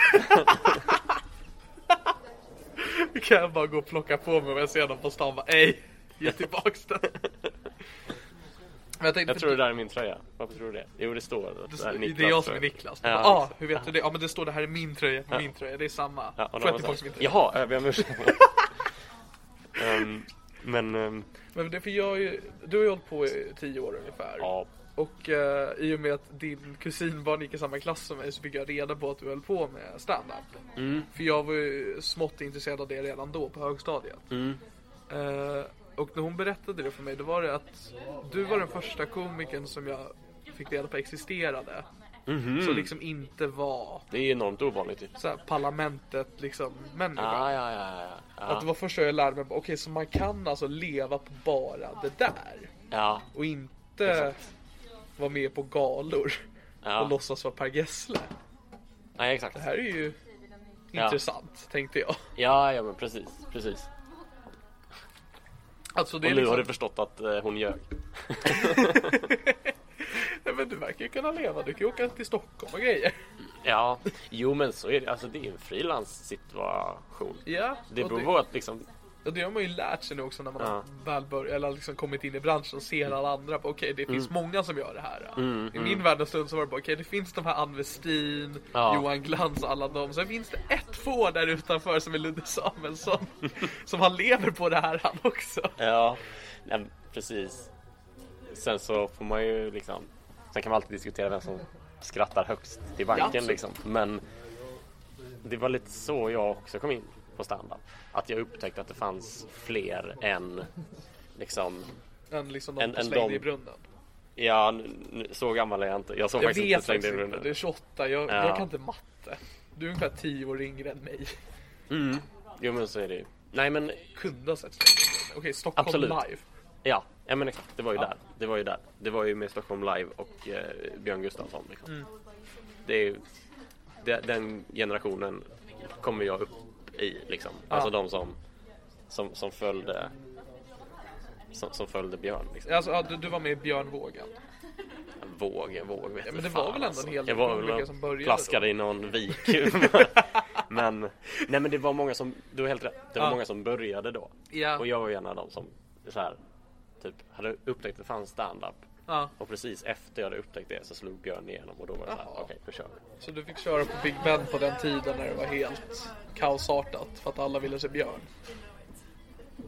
Speaker 2: Nu *laughs* kan jag bara gå och plocka på mig om jag ser dem på stan bara ej, ge tillbaks
Speaker 3: *laughs*
Speaker 2: den. Men jag tänkte,
Speaker 3: Jag tror det där är min tröja. Varför tror du det? Jo, det står
Speaker 2: det,
Speaker 3: här
Speaker 2: det, är
Speaker 3: Niklas
Speaker 2: jag som är
Speaker 3: tröja.
Speaker 2: Niklas.
Speaker 3: Ja,
Speaker 2: Ja,
Speaker 3: exakt.
Speaker 2: ah, hur vet du det? Ja men det står det här är min tröja, på min tröja, det är samma.
Speaker 3: Ja, och
Speaker 2: Får
Speaker 3: då
Speaker 2: jag
Speaker 3: var man
Speaker 2: tillbaks
Speaker 3: så
Speaker 2: min
Speaker 3: här,
Speaker 2: tröja?
Speaker 3: Jaha, jag ber
Speaker 2: *laughs*
Speaker 3: om ursäkt. Ehm, Men, ehm,
Speaker 2: Men det, för jag är, ju- du har ju hållit på i tio år ungefär.
Speaker 3: ja.
Speaker 2: Och eh, i och med att din kusinbarn gick i samma klass som mig så fick jag reda på att du höll på med standup. För jag var ju smått intresserad av det redan då på högstadiet. Eh, och när hon berättade det för mig då var det att du var den första komikern som jag fick reda på existerade. Som liksom inte var
Speaker 3: Det är enormt ovanligt ju.
Speaker 2: så här, parlamentet liksom människa.
Speaker 3: Ja, ja, ja, ja,
Speaker 2: Att
Speaker 3: ja.
Speaker 2: det var första jag lärde mig, bara, okej så man kan alltså leva på bara det där.
Speaker 3: ja.
Speaker 2: Och inte vara med på galor och
Speaker 3: ja.
Speaker 2: låtsas vara Per Gessle.
Speaker 3: Nej, exakt.
Speaker 2: Det här är ju intressant, tänkte jag.
Speaker 3: Ja, ja, men precis, precis.
Speaker 2: Alltså det
Speaker 3: Och
Speaker 2: är
Speaker 3: nu har
Speaker 2: liksom,
Speaker 3: du förstått att eh, hon ljög.
Speaker 2: Nej, men du verkar ju kunna leva, du kan ju åka till Stockholm och grejer.
Speaker 3: Ja, jo, men så är det. Alltså, det är ju en frilanssituation.
Speaker 2: Ja,
Speaker 3: Det
Speaker 2: och
Speaker 3: beror
Speaker 2: det-
Speaker 3: på att liksom,
Speaker 2: Och det har man ju lärt sig nu också när man
Speaker 3: Ja.
Speaker 2: har väl börjat, eller liksom kommit in i branschen och ser alla andra. bara, Okej, det finns
Speaker 3: Mm.
Speaker 2: många som gör det här. ja. I min värld en stund så var det bara, okej det finns de här Ann Westin,
Speaker 3: Ja.
Speaker 2: Johan Glans och alla dem. Sen finns det ett få där utanför som är Ludde
Speaker 3: *laughs*
Speaker 2: Samuelsson. som han lever på det här han också.
Speaker 3: ja, nej, precis. Sen så får man ju liksom, sen kan man alltid diskutera vem som skrattar högst till banken
Speaker 2: absolut.
Speaker 3: liksom. Men det var lite så jag också kom in på standup. Att jag upptäckte att det fanns fler än liksom
Speaker 2: Än liksom de
Speaker 3: En-
Speaker 2: en,
Speaker 3: en
Speaker 2: slängde
Speaker 3: dom.
Speaker 2: i brunnen.
Speaker 3: Ja, n- n- så gammal är jag inte. Jag såg
Speaker 2: Jag
Speaker 3: faktiskt
Speaker 2: vet
Speaker 3: inte slängde
Speaker 2: faktiskt
Speaker 3: in
Speaker 2: inte, det är
Speaker 3: runden.
Speaker 2: 28, jag,
Speaker 3: Ja.
Speaker 2: jag kan inte matte. Du är ungefär 10 år yngre än mig.
Speaker 3: Jo, men så är det ju. Nej, men
Speaker 2: Kunde ha sett slängd i brunnen. Okej, Stockholm
Speaker 3: Absolut.
Speaker 2: live.
Speaker 3: ja, ja men exakt. Det var ju där. Det var ju där. Det var ju med Stockholm Live och eh, Björn Gustafsson. Liksom. Det är ju, de, den generationen kommer jag upp i liksom. Alltså de som, som, som följde som, som följde Björn. Liksom.
Speaker 2: Alltså, ja, du, du var med i Björn Vågan.
Speaker 3: Våg, en våg vet
Speaker 2: Ja, men
Speaker 3: du
Speaker 2: det var
Speaker 3: fan, alltså.
Speaker 2: väl ändå en hel del
Speaker 3: Jag var väl
Speaker 2: komiker
Speaker 3: och
Speaker 2: som började
Speaker 3: plaskade i någon vik.
Speaker 2: *laughs*
Speaker 3: men, nej men det var många som, du har helt rätt. Det var
Speaker 2: Ja.
Speaker 3: många som började då.
Speaker 2: Ja.
Speaker 3: Och jag var ju en av dem som så här, typ hade upptäckt att det fanns stand-up.
Speaker 2: Ja.
Speaker 3: Och precis efter jag hade upptäckt det så slog Björn igenom och då var det så här, okej nu kör vi.
Speaker 2: Så du fick köra på Big Ben på den tiden när det var helt kaosartat för att alla ville se Björn.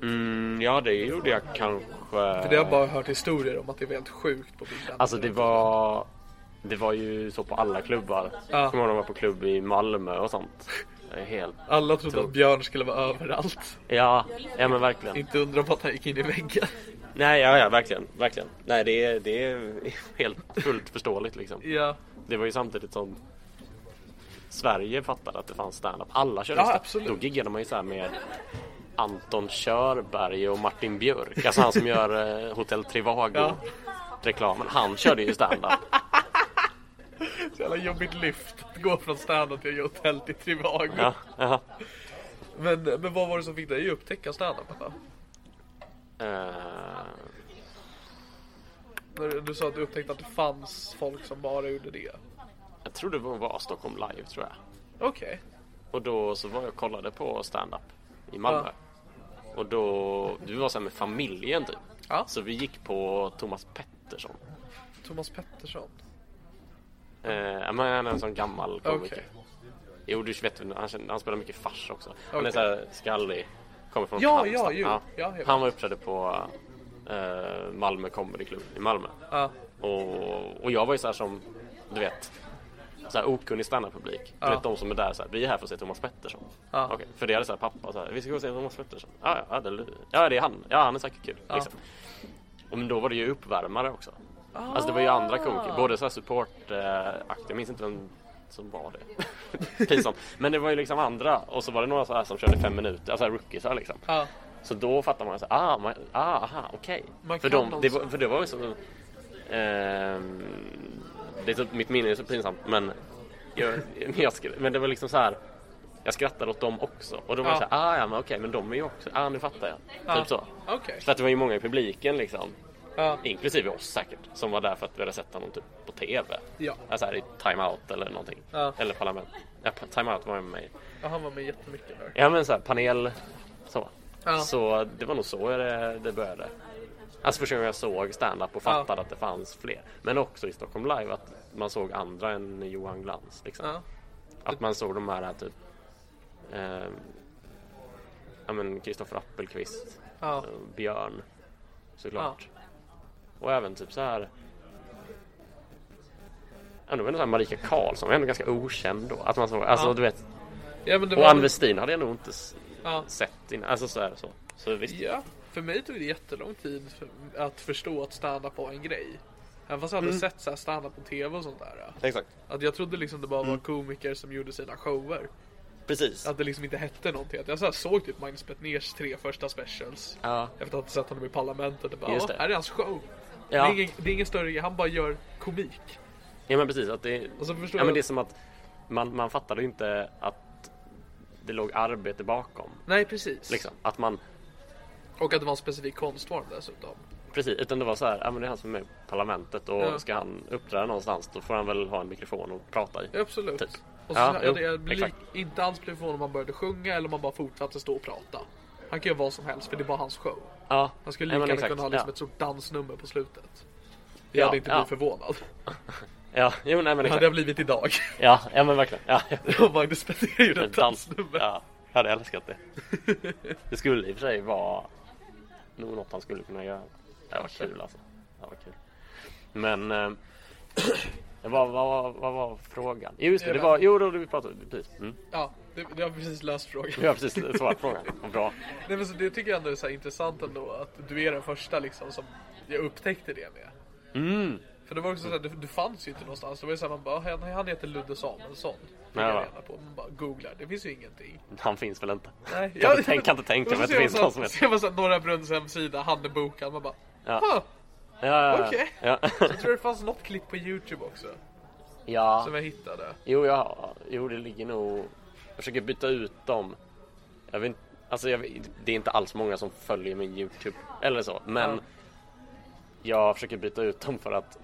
Speaker 3: Mm, ja det gjorde jag kanske.
Speaker 2: För det har jag bara hört historier om att det var helt sjukt på Big Ben.
Speaker 3: Alltså det var Det var ju så på alla klubbar.
Speaker 2: Ja.
Speaker 3: Jag Kommer ihåg när jag var på klubb i Malmö och sånt. Jag är Helt.
Speaker 2: Alla trodde
Speaker 3: Typ.
Speaker 2: att Björn skulle vara överallt.
Speaker 3: Ja, ja men verkligen.
Speaker 2: Inte undra på att han gick in i väggen.
Speaker 3: Nej, ja, ja verkligen, verkligen. Nej det är, det är helt fullt förståeligt liksom.
Speaker 2: Ja,
Speaker 3: Det var ju samtidigt som Sverige fattade att det fanns standup. Alla körde
Speaker 2: Ja,
Speaker 3: stand-up.
Speaker 2: absolut.
Speaker 3: Då giggade man ju så här med Anton Körberg och Martin Björk. Alltså han som gör eh, Hotell
Speaker 2: Ja.
Speaker 3: Trivago-reklamen. Han körde ju standup.
Speaker 2: så jävla jobbigt lyft. Att Gå från standup till att göra hotell till Trivago.
Speaker 3: Ja, ja.
Speaker 2: Men, men vad var det som fick dig att upptäcka standup? pappa?
Speaker 3: Eh,
Speaker 2: När Du, du sa att du upptäckte att det fanns folk som bara gjorde det.
Speaker 3: Jag tror det var Stockholm live tror jag.
Speaker 2: Okej.
Speaker 3: Och då så var jag och kollade på stand-up i Malmö. Och då, vi var så här med familjen typ.
Speaker 2: Ja.
Speaker 3: Så vi gick på Thomas Pettersson.
Speaker 2: Thomas Pettersson.
Speaker 3: Eh, ja, men han är en sån gammal komiker.
Speaker 2: Okej.
Speaker 3: Jo, du vet, han, känner- han spelar mycket fars också. Han
Speaker 2: Okej.
Speaker 3: är så här skallig. Kommer från
Speaker 2: Ja,
Speaker 3: Halmstad.
Speaker 2: ja, ju. Ja, jag vet.
Speaker 3: Han var uppträdde på eh, Malmö Comedy Club i Malmö.
Speaker 2: Ja.
Speaker 3: Och, och jag var ju så här som, du vet, så här okunnig standup-publik. Du
Speaker 2: Ja.
Speaker 3: vet de som är där så här, vi är här för att se Thomas Pettersson.
Speaker 2: Ja.
Speaker 3: Okej, för det hade så här pappa så här, vi ska gå och se Thomas Pettersson. Ja, ja, ja, det, ja, det är han. Ja, han är säkert kul. Liksom. Och men då var det ju uppvärmare också. Alltså det var ju andra komiker, både så här support eh, akt, jag minns inte vem som var det. *laughs* Pinsamt. Men det var ju liksom andra och så var det några så här som körde fem minuter, alltså rookiesar liksom.
Speaker 2: Ja.
Speaker 3: Så då fattar man så ah, man, ah aha, okej.
Speaker 2: Man
Speaker 3: För,
Speaker 2: kan
Speaker 3: de, det
Speaker 2: också.
Speaker 3: var- för det var ju så... ehm, det är typ, mitt minne är så pinsamt men jag, *laughs* men jag, skra- men det var liksom så här. Jag skrattade åt dem också och då var det
Speaker 2: Ja.
Speaker 3: så här, ah ja men okej men de är ju också, ah nu fattar jag. Typ så.
Speaker 2: Okej.
Speaker 3: För att det var ju många i publiken liksom,
Speaker 2: Ja.
Speaker 3: inklusive oss säkert, som var där för att vi hade sett honom typ på TV.
Speaker 2: Ja.
Speaker 3: Alltså här i Time Out eller någonting.
Speaker 2: Ja.
Speaker 3: Eller Parlament. Ja, pa- time Out var ju med mig.
Speaker 2: ja, han var med jättemycket där.
Speaker 3: Ja men så här, panel. Så.
Speaker 2: Ja.
Speaker 3: så det var nog så det, det började. Alltså första gången jag såg stand-up och fattade att det fanns fler. Men också i Stockholm Live att man såg andra än Johan Glans. Liksom.
Speaker 2: Ja.
Speaker 3: Att man såg de här typ ehm, Ja men Kristoffer Appelqvist,
Speaker 2: Ja.
Speaker 3: eh, Björn såklart. Och även typ så här Ja, det var ändå så här Marika Karlsson var ändå ganska okänd då. Att man såg, alltså
Speaker 2: Ja.
Speaker 3: du vet
Speaker 2: Ja, men det
Speaker 3: och
Speaker 2: var
Speaker 3: Ann Westin hade jag nog inte s-
Speaker 2: Ja.
Speaker 3: sett innan. Alltså så här så. Så visst.
Speaker 2: Ja, för mig tog det jättelång tid för, att förstå att stand-up var en grej. Även fast jag hade sett så här stand-up på TV och sånt där.
Speaker 3: Mm. Exakt. Mm.
Speaker 2: Att jag trodde liksom det bara var komiker som gjorde sina shower.
Speaker 3: Precis.
Speaker 2: Att det liksom inte hette någonting. Att jag så här såg typ Magnus Betnérs tre första specials.
Speaker 3: Ja.
Speaker 2: Efter att ha sett honom i Parlamentet. Och bara,
Speaker 3: Just
Speaker 2: "Åh,
Speaker 3: det.
Speaker 2: här är hans show. Det,
Speaker 3: Ja.
Speaker 2: är ingen, det är ingen större grej, han bara gör komik.
Speaker 3: Ja men precis. Att det,
Speaker 2: Och så förstår
Speaker 3: ja, men
Speaker 2: jag-
Speaker 3: det är som att man, man fattade ju inte att det låg arbete bakom.
Speaker 2: Nej, precis.
Speaker 3: Liksom. Att man,
Speaker 2: Och att det var en specifik konstform dessutom.
Speaker 3: precis, utan det var så här, ja men det är han som är med i Parlamentet och
Speaker 2: Ja.
Speaker 3: ska han uppträda någonstans då får han väl ha en mikrofon och prata i.
Speaker 2: Ja, Absolut.
Speaker 3: Typ.
Speaker 2: Och så,
Speaker 3: Ja,
Speaker 2: ja,
Speaker 3: jo,
Speaker 2: det blir
Speaker 3: exakt.
Speaker 2: inte alls blev förvånad om han började sjunga eller om han bara fortsatte stå och prata. Han kan göra vad som helst för det är bara hans show.
Speaker 3: Ja.
Speaker 2: Han skulle
Speaker 3: Ja,
Speaker 2: lika
Speaker 3: men
Speaker 2: gärna
Speaker 3: exakt.
Speaker 2: kunna ha liksom
Speaker 3: ja.
Speaker 2: ett stort dansnummer på slutet. Jag
Speaker 3: Ja,
Speaker 2: hade inte
Speaker 3: ja.
Speaker 2: blivit förvånad.
Speaker 3: Ja, jo, nej, men
Speaker 2: Det
Speaker 3: exakt.
Speaker 2: hade jag blivit idag. *laughs*
Speaker 3: Ja, ja men verkligen. *laughs* Ja, ja.
Speaker 2: Om Magnus Betnér gjorde ett
Speaker 3: Dans.
Speaker 2: dansnummer.
Speaker 3: Ja, jag hade älskat *laughs* det. Det skulle i och för sig vara nog något han skulle kunna göra. Det var kul alltså. Det var kul. Men eh, *clears throat* vad, vad, vad var frågan? Jo, Just det, det var, jo, då vi pratade precis. Mm.
Speaker 2: Ja, det, det har precis löst frågan.
Speaker 3: Vi har precis svarat på frågan. Vad bra.
Speaker 2: Nej, men så det tycker jag ändå är så här intressant ändå att du är den första liksom som jag upptäckte det med.
Speaker 3: Mm.
Speaker 2: För det var också så här, du, du fanns ju inte någonstans. Det var ju såhär man bara, han, han heter Ludde Samuelsson. Fick jag
Speaker 3: Ja.
Speaker 2: reda på. Man bara googlar, det finns ju ingenting.
Speaker 3: Han finns väl inte?
Speaker 2: Nej,
Speaker 3: kan, inte, tänka- kan inte tänka mig att det finns någon som heter...
Speaker 2: Ser man såhär Norra Brunns hemsida, han är bokad. Man bara,
Speaker 3: Ja.
Speaker 2: huh,
Speaker 3: Ja, ja, ja.
Speaker 2: Okej.
Speaker 3: ja.
Speaker 2: jag tror det fanns något klipp på Youtube också.
Speaker 3: *laughs* ja.
Speaker 2: Som jag hittade.
Speaker 3: Jo, jag, jo, det ligger nog... Jag försöker byta ut dem. Jag vet inte... Alltså jag, det är inte alls många som följer min Youtube eller så men jag försöker byta ut dem för att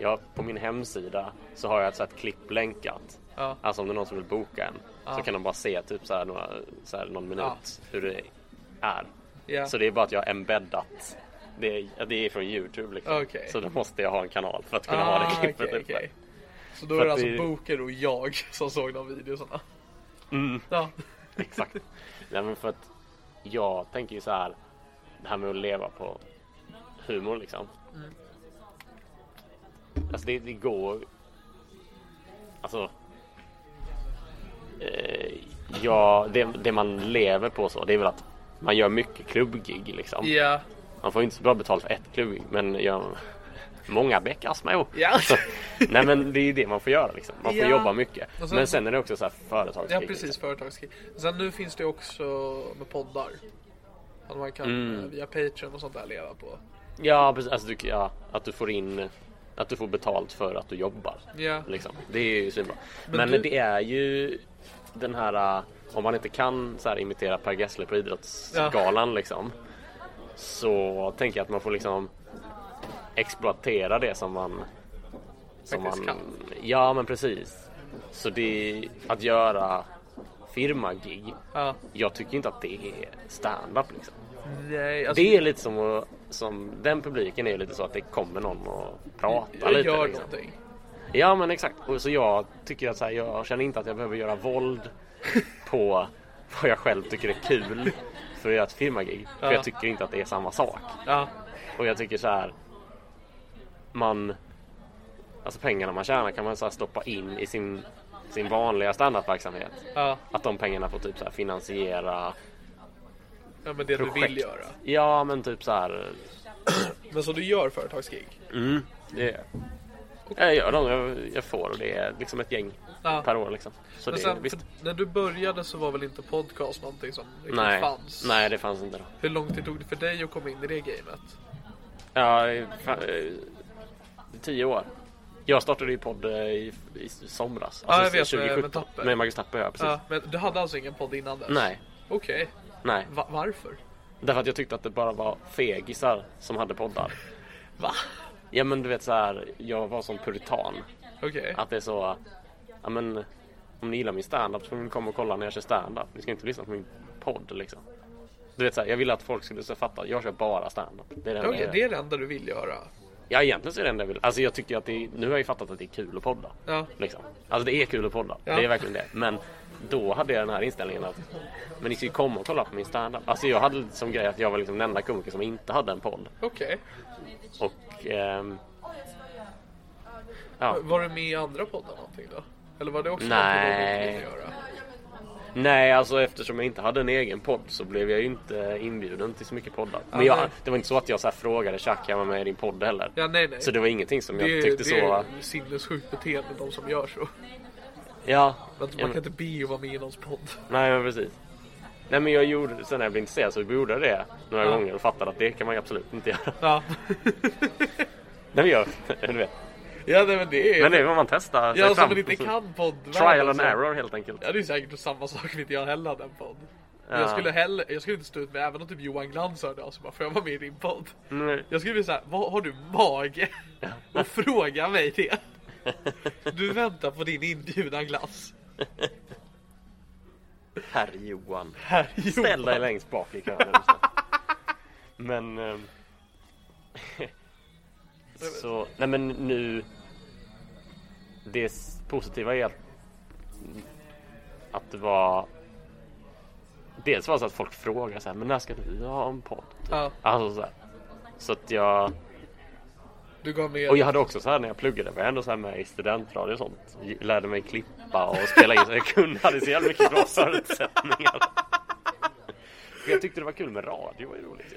Speaker 3: jag, på min hemsida så har jag ett så här ett klipp länkat.
Speaker 2: Ja.
Speaker 3: Alltså om det är någon som vill boka en så kan de bara se typ så här, några, så här någon minut
Speaker 2: Ja.
Speaker 3: hur det är.
Speaker 2: Ja.
Speaker 3: Så det är bara att jag har embeddat. Det är, det är från Youtube liksom.
Speaker 2: Okej. Ah,
Speaker 3: Så då måste jag ha en kanal för att kunna ha det klippet
Speaker 2: okej,
Speaker 3: uppe.
Speaker 2: okej. Så då
Speaker 3: För
Speaker 2: är det
Speaker 3: att
Speaker 2: alltså
Speaker 3: det-
Speaker 2: Boker och jag *laughs* som såg de videorna?
Speaker 3: Mm.
Speaker 2: Ja.
Speaker 3: Exakt. Nej men för att jag tänker ju så här. Det här med att leva på humor liksom.
Speaker 2: Mm.
Speaker 3: Alltså det, det går. Alltså. Eh, ja, det, det man lever på så det är väl att man gör mycket klubbgig liksom.
Speaker 2: Ja.
Speaker 3: Man får ju inte så bra betalt för ett klubbgig men gör många bäckar små.
Speaker 2: Ja.
Speaker 3: Så, nej men det är ju det man får göra liksom. Man får
Speaker 2: Ja.
Speaker 3: jobba mycket.
Speaker 2: Och sen-
Speaker 3: men sen är det också så här företagskrig.
Speaker 2: Ja
Speaker 3: liksom.
Speaker 2: precis, företagskrig. Sen nu finns det också med poddar. Att man kan
Speaker 3: Mm.
Speaker 2: eh, via Patreon och sånt där leva på.
Speaker 3: Ja, precis. Alltså, du, ja, att du får in att du får betalt för att du jobbar.
Speaker 2: Ja.
Speaker 3: Liksom. Det är ju svinbra. Men,
Speaker 2: du-
Speaker 3: det är ju den här äh, om man inte kan så här, imitera Per Gessle på Idrottsgalan liksom. Så tänker jag att man får liksom exploatera det som man som
Speaker 2: Faktiskt
Speaker 3: man,
Speaker 2: kan.
Speaker 3: ja men precis. Så det att göra firmagig.
Speaker 2: Ja.
Speaker 3: Jag tycker inte att det är stand-up liksom.
Speaker 2: Nej, alltså,
Speaker 3: Det är lite som, att- som den publiken är ju lite så att det kommer någon och pratar
Speaker 2: jag
Speaker 3: lite.
Speaker 2: gör
Speaker 3: liksom.
Speaker 2: någonting.
Speaker 3: Ja men exakt. Och så jag tycker att så här, jag känner inte att jag behöver göra
Speaker 2: *laughs*
Speaker 3: våld på vad jag själv tycker är kul för att göra ett firmagig. För
Speaker 2: Ja.
Speaker 3: jag tycker inte att det är samma sak.
Speaker 2: Ja.
Speaker 3: Och jag tycker så här. Man. Alltså pengarna man tjänar kan man så här stoppa in i sin, sin vanliga standardverksamhet.
Speaker 2: Ja.
Speaker 3: Att de pengarna får typ så här finansiera.
Speaker 2: ja, men det du vill
Speaker 3: Projekt.
Speaker 2: göra.
Speaker 3: Ja men typ så här
Speaker 2: Men så du gör företagsgig?
Speaker 3: Det jag gör dem jag, jag får och det är liksom ett gäng
Speaker 2: Ja.
Speaker 3: per år liksom. Så
Speaker 2: Men
Speaker 3: det,
Speaker 2: sen,
Speaker 3: visst.
Speaker 2: för när du började så var väl inte podcast någonting som riktigt
Speaker 3: Nej.
Speaker 2: fanns?
Speaker 3: Nej, det fanns inte då.
Speaker 2: Hur lång tid tog det för dig att komma in i det gamet?
Speaker 3: Ja, i- fan, eh, tio år. Jag startade ju podd eh, i, i somras.
Speaker 2: Ja, jag vet, med- med
Speaker 3: 2017.
Speaker 2: Tapper.
Speaker 3: Med Marcus Tapper, ja precis.
Speaker 2: Ja, men du hade alltså ingen podd innan dess?
Speaker 3: Nej,
Speaker 2: Okej.
Speaker 3: nej.
Speaker 2: Va- varför?
Speaker 3: Därför att jag tyckte att det bara var fegisar som hade poddar.
Speaker 2: Va?
Speaker 3: Ja men du vet så här, jag var som puritan.
Speaker 2: Okej.
Speaker 3: Att det är så, ja men om ni gillar min standup så får ni komma och kolla när jag kör standup. Ni ska inte lyssna på min podd liksom. Du vet så här, jag ville att folk skulle så fatta, jag kör bara standup. Det är det enda
Speaker 2: Okej,
Speaker 3: jag
Speaker 2: det
Speaker 3: gör.
Speaker 2: är det enda du vill göra?
Speaker 3: Ja egentligen så är det enda jag vill. Alltså jag tycker att det, är- nu har jag ju fattat att det är kul att podda.
Speaker 2: Ja.
Speaker 3: Liksom. Alltså det är kul att podda,
Speaker 2: Ja.
Speaker 3: det är verkligen det. Men då hade jag den här inställningen att, men ni ska ju komma och kolla på min standup. Alltså jag hade lite som grej att jag var liksom den enda komikern som inte hade en podd.
Speaker 2: Okej.
Speaker 3: Och ehm, ja.
Speaker 2: Var du med i andra poddar någonting då? Eller var det också
Speaker 3: Nej.
Speaker 2: någonting du ville göra?
Speaker 3: Nej, alltså eftersom jag inte hade en egen podd så blev jag ju inte inbjuden till så mycket poddar. Men
Speaker 2: nej.
Speaker 3: jag, det var inte så att jag så här frågade Chuck, jag var med i din podd heller.
Speaker 2: Ja, nej, nej.
Speaker 3: Så det var ingenting som
Speaker 2: Det,
Speaker 3: jag
Speaker 2: är-
Speaker 3: tyckte
Speaker 2: det
Speaker 3: så.
Speaker 2: är sinnessjukt beteende de som gör så.
Speaker 3: Ja.
Speaker 2: Men
Speaker 3: ja,
Speaker 2: man
Speaker 3: men-
Speaker 2: kan inte be att vara med i någons podd.
Speaker 3: Nej, men precis. Nej, men jag gjorde, sen när jag blev intresserad så gjorde jag det några gånger och fattade att det kan man ju absolut inte göra. *laughs*
Speaker 2: Ja,
Speaker 3: Nej, men jag, du vet.
Speaker 2: ja nej, men det är...
Speaker 3: Men det är vad man testar sig
Speaker 2: ja, som
Speaker 3: fram.
Speaker 2: man inte
Speaker 3: *laughs*
Speaker 2: kan podd.
Speaker 3: Trial and error helt enkelt.
Speaker 2: Ja, det är säkert samma sak om inte jag heller hade en podd. Men Jag,
Speaker 3: Ja.
Speaker 2: skulle heller, jag skulle inte stå ut med även om typ Johan Glans hörde av sig och bara, får jag vara med i din podd?
Speaker 3: Nej.
Speaker 2: Jag skulle bli såhär, vad har du
Speaker 3: *laughs*
Speaker 2: mage att fråga mig det? Du väntar på din inbjudan glass.
Speaker 3: Herr Johan.
Speaker 2: Här
Speaker 3: Ställ dig
Speaker 2: Johan.
Speaker 3: längst bak i kön. Elsa. men... ehm, så, nej men nu... Det s- positiva är att, att det var... Dels var det så att folk frågade så här, men när ska du ha en podd?
Speaker 2: Ja,
Speaker 3: Alltså så här. Så att jag...
Speaker 2: du gav med
Speaker 3: Och jag hade också så här när jag pluggade var jag ändå så här med i studentradio och sånt. Lärde mig klippa och spela in så jag kunde. Hade så jävla mycket *laughs* bra förutsättningar. För jag tyckte det var kul med radio. var ju roligt. ju.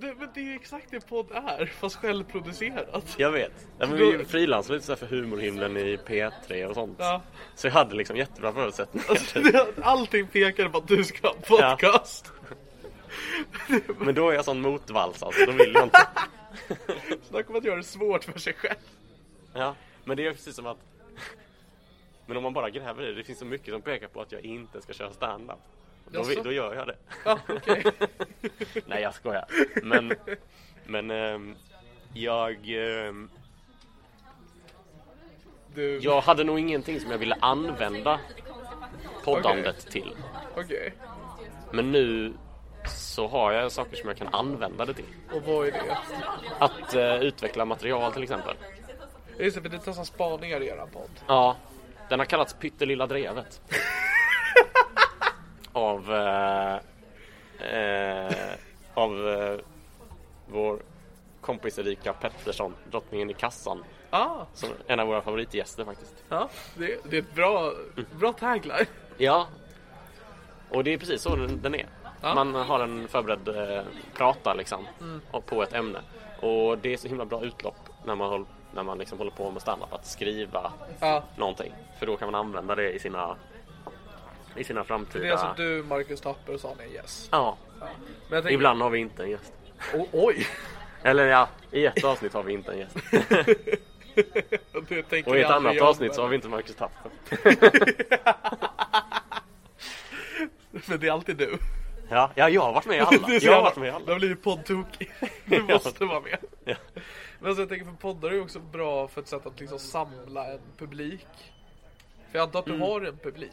Speaker 2: det, men det är ju exakt det podd är, fast självproducerat.
Speaker 3: Jag vet. Ja, men vi frilansade lite så här för humorhimlen i P3 och sånt.
Speaker 2: Ja.
Speaker 3: Så jag hade liksom jättebra förutsättningar.
Speaker 2: *laughs*
Speaker 3: *laughs*
Speaker 2: Alltså, det- Allting pekade på att du ska ha en podcast.
Speaker 3: Men då är jag sån motvalls alltså. Då vill jag inte.
Speaker 2: Snacka om att göra det svårt för sig själv.
Speaker 3: Ja. Men det är precis som att. Men om man bara gräver i det. Det finns så mycket som pekar på att jag inte ska köra standup. Då, vi- då gör jag det.
Speaker 2: Ja, okej.
Speaker 3: Nej, jag skojar. Men, men ehm, jag, ehm,
Speaker 2: Du,
Speaker 3: jag hade nog ingenting som jag ville använda poddandet till.
Speaker 2: okej.
Speaker 3: Men nu så har jag saker som jag kan använda det till.
Speaker 2: Och vad är det?
Speaker 3: Att eh, utveckla material till exempel.
Speaker 2: Just det, för det tar som spaningar i eran podd.
Speaker 3: Ja, den har kallats Pyttelilla Drevet. av eh, eh, av eh, vår kompis Erika Pettersson, drottningen i kassan.
Speaker 2: Ah,
Speaker 3: Som en av våra favoritgäster faktiskt.
Speaker 2: ja, det, det är ett bra, bra tagline.
Speaker 3: Ja. Och det är precis så den, den är.
Speaker 2: Ja. Mm.
Speaker 3: Man har en förberedd eh, prata liksom. och På ett ämne. Och det är så himla bra utlopp när man, håll, när man liksom håller på med standup. Att skriva
Speaker 2: Ja,
Speaker 3: någonting. För då kan man använda det i sina, i sina framtida...
Speaker 2: det är alltså du, Marcus Tapper och Sonja Yes.
Speaker 3: Ja,
Speaker 2: Men jag tänker,
Speaker 3: ibland har vi inte en gäst.
Speaker 2: O- oj!
Speaker 3: Eller ja, i ett avsnitt har vi inte en gäst.
Speaker 2: Det tänker
Speaker 3: Och i ett
Speaker 2: jag aldrig
Speaker 3: annat
Speaker 2: göra.
Speaker 3: avsnitt så har vi inte Marcus Tapper.
Speaker 2: Men det är alltid du.
Speaker 3: Ja, ja, jag har varit med i
Speaker 2: *laughs*
Speaker 3: alla.
Speaker 2: Det är så
Speaker 3: Jag har
Speaker 2: jävla-
Speaker 3: varit med i
Speaker 2: Du
Speaker 3: alla.
Speaker 2: har blivit
Speaker 3: *laughs*
Speaker 2: poddtokig. Du
Speaker 3: Ja.
Speaker 2: måste vara med.
Speaker 3: Ja.
Speaker 2: Men så jag tänker för poddar är ju också bra för ett sätt att liksom samla en publik. För jag antar att du
Speaker 3: Mm.
Speaker 2: har en publik.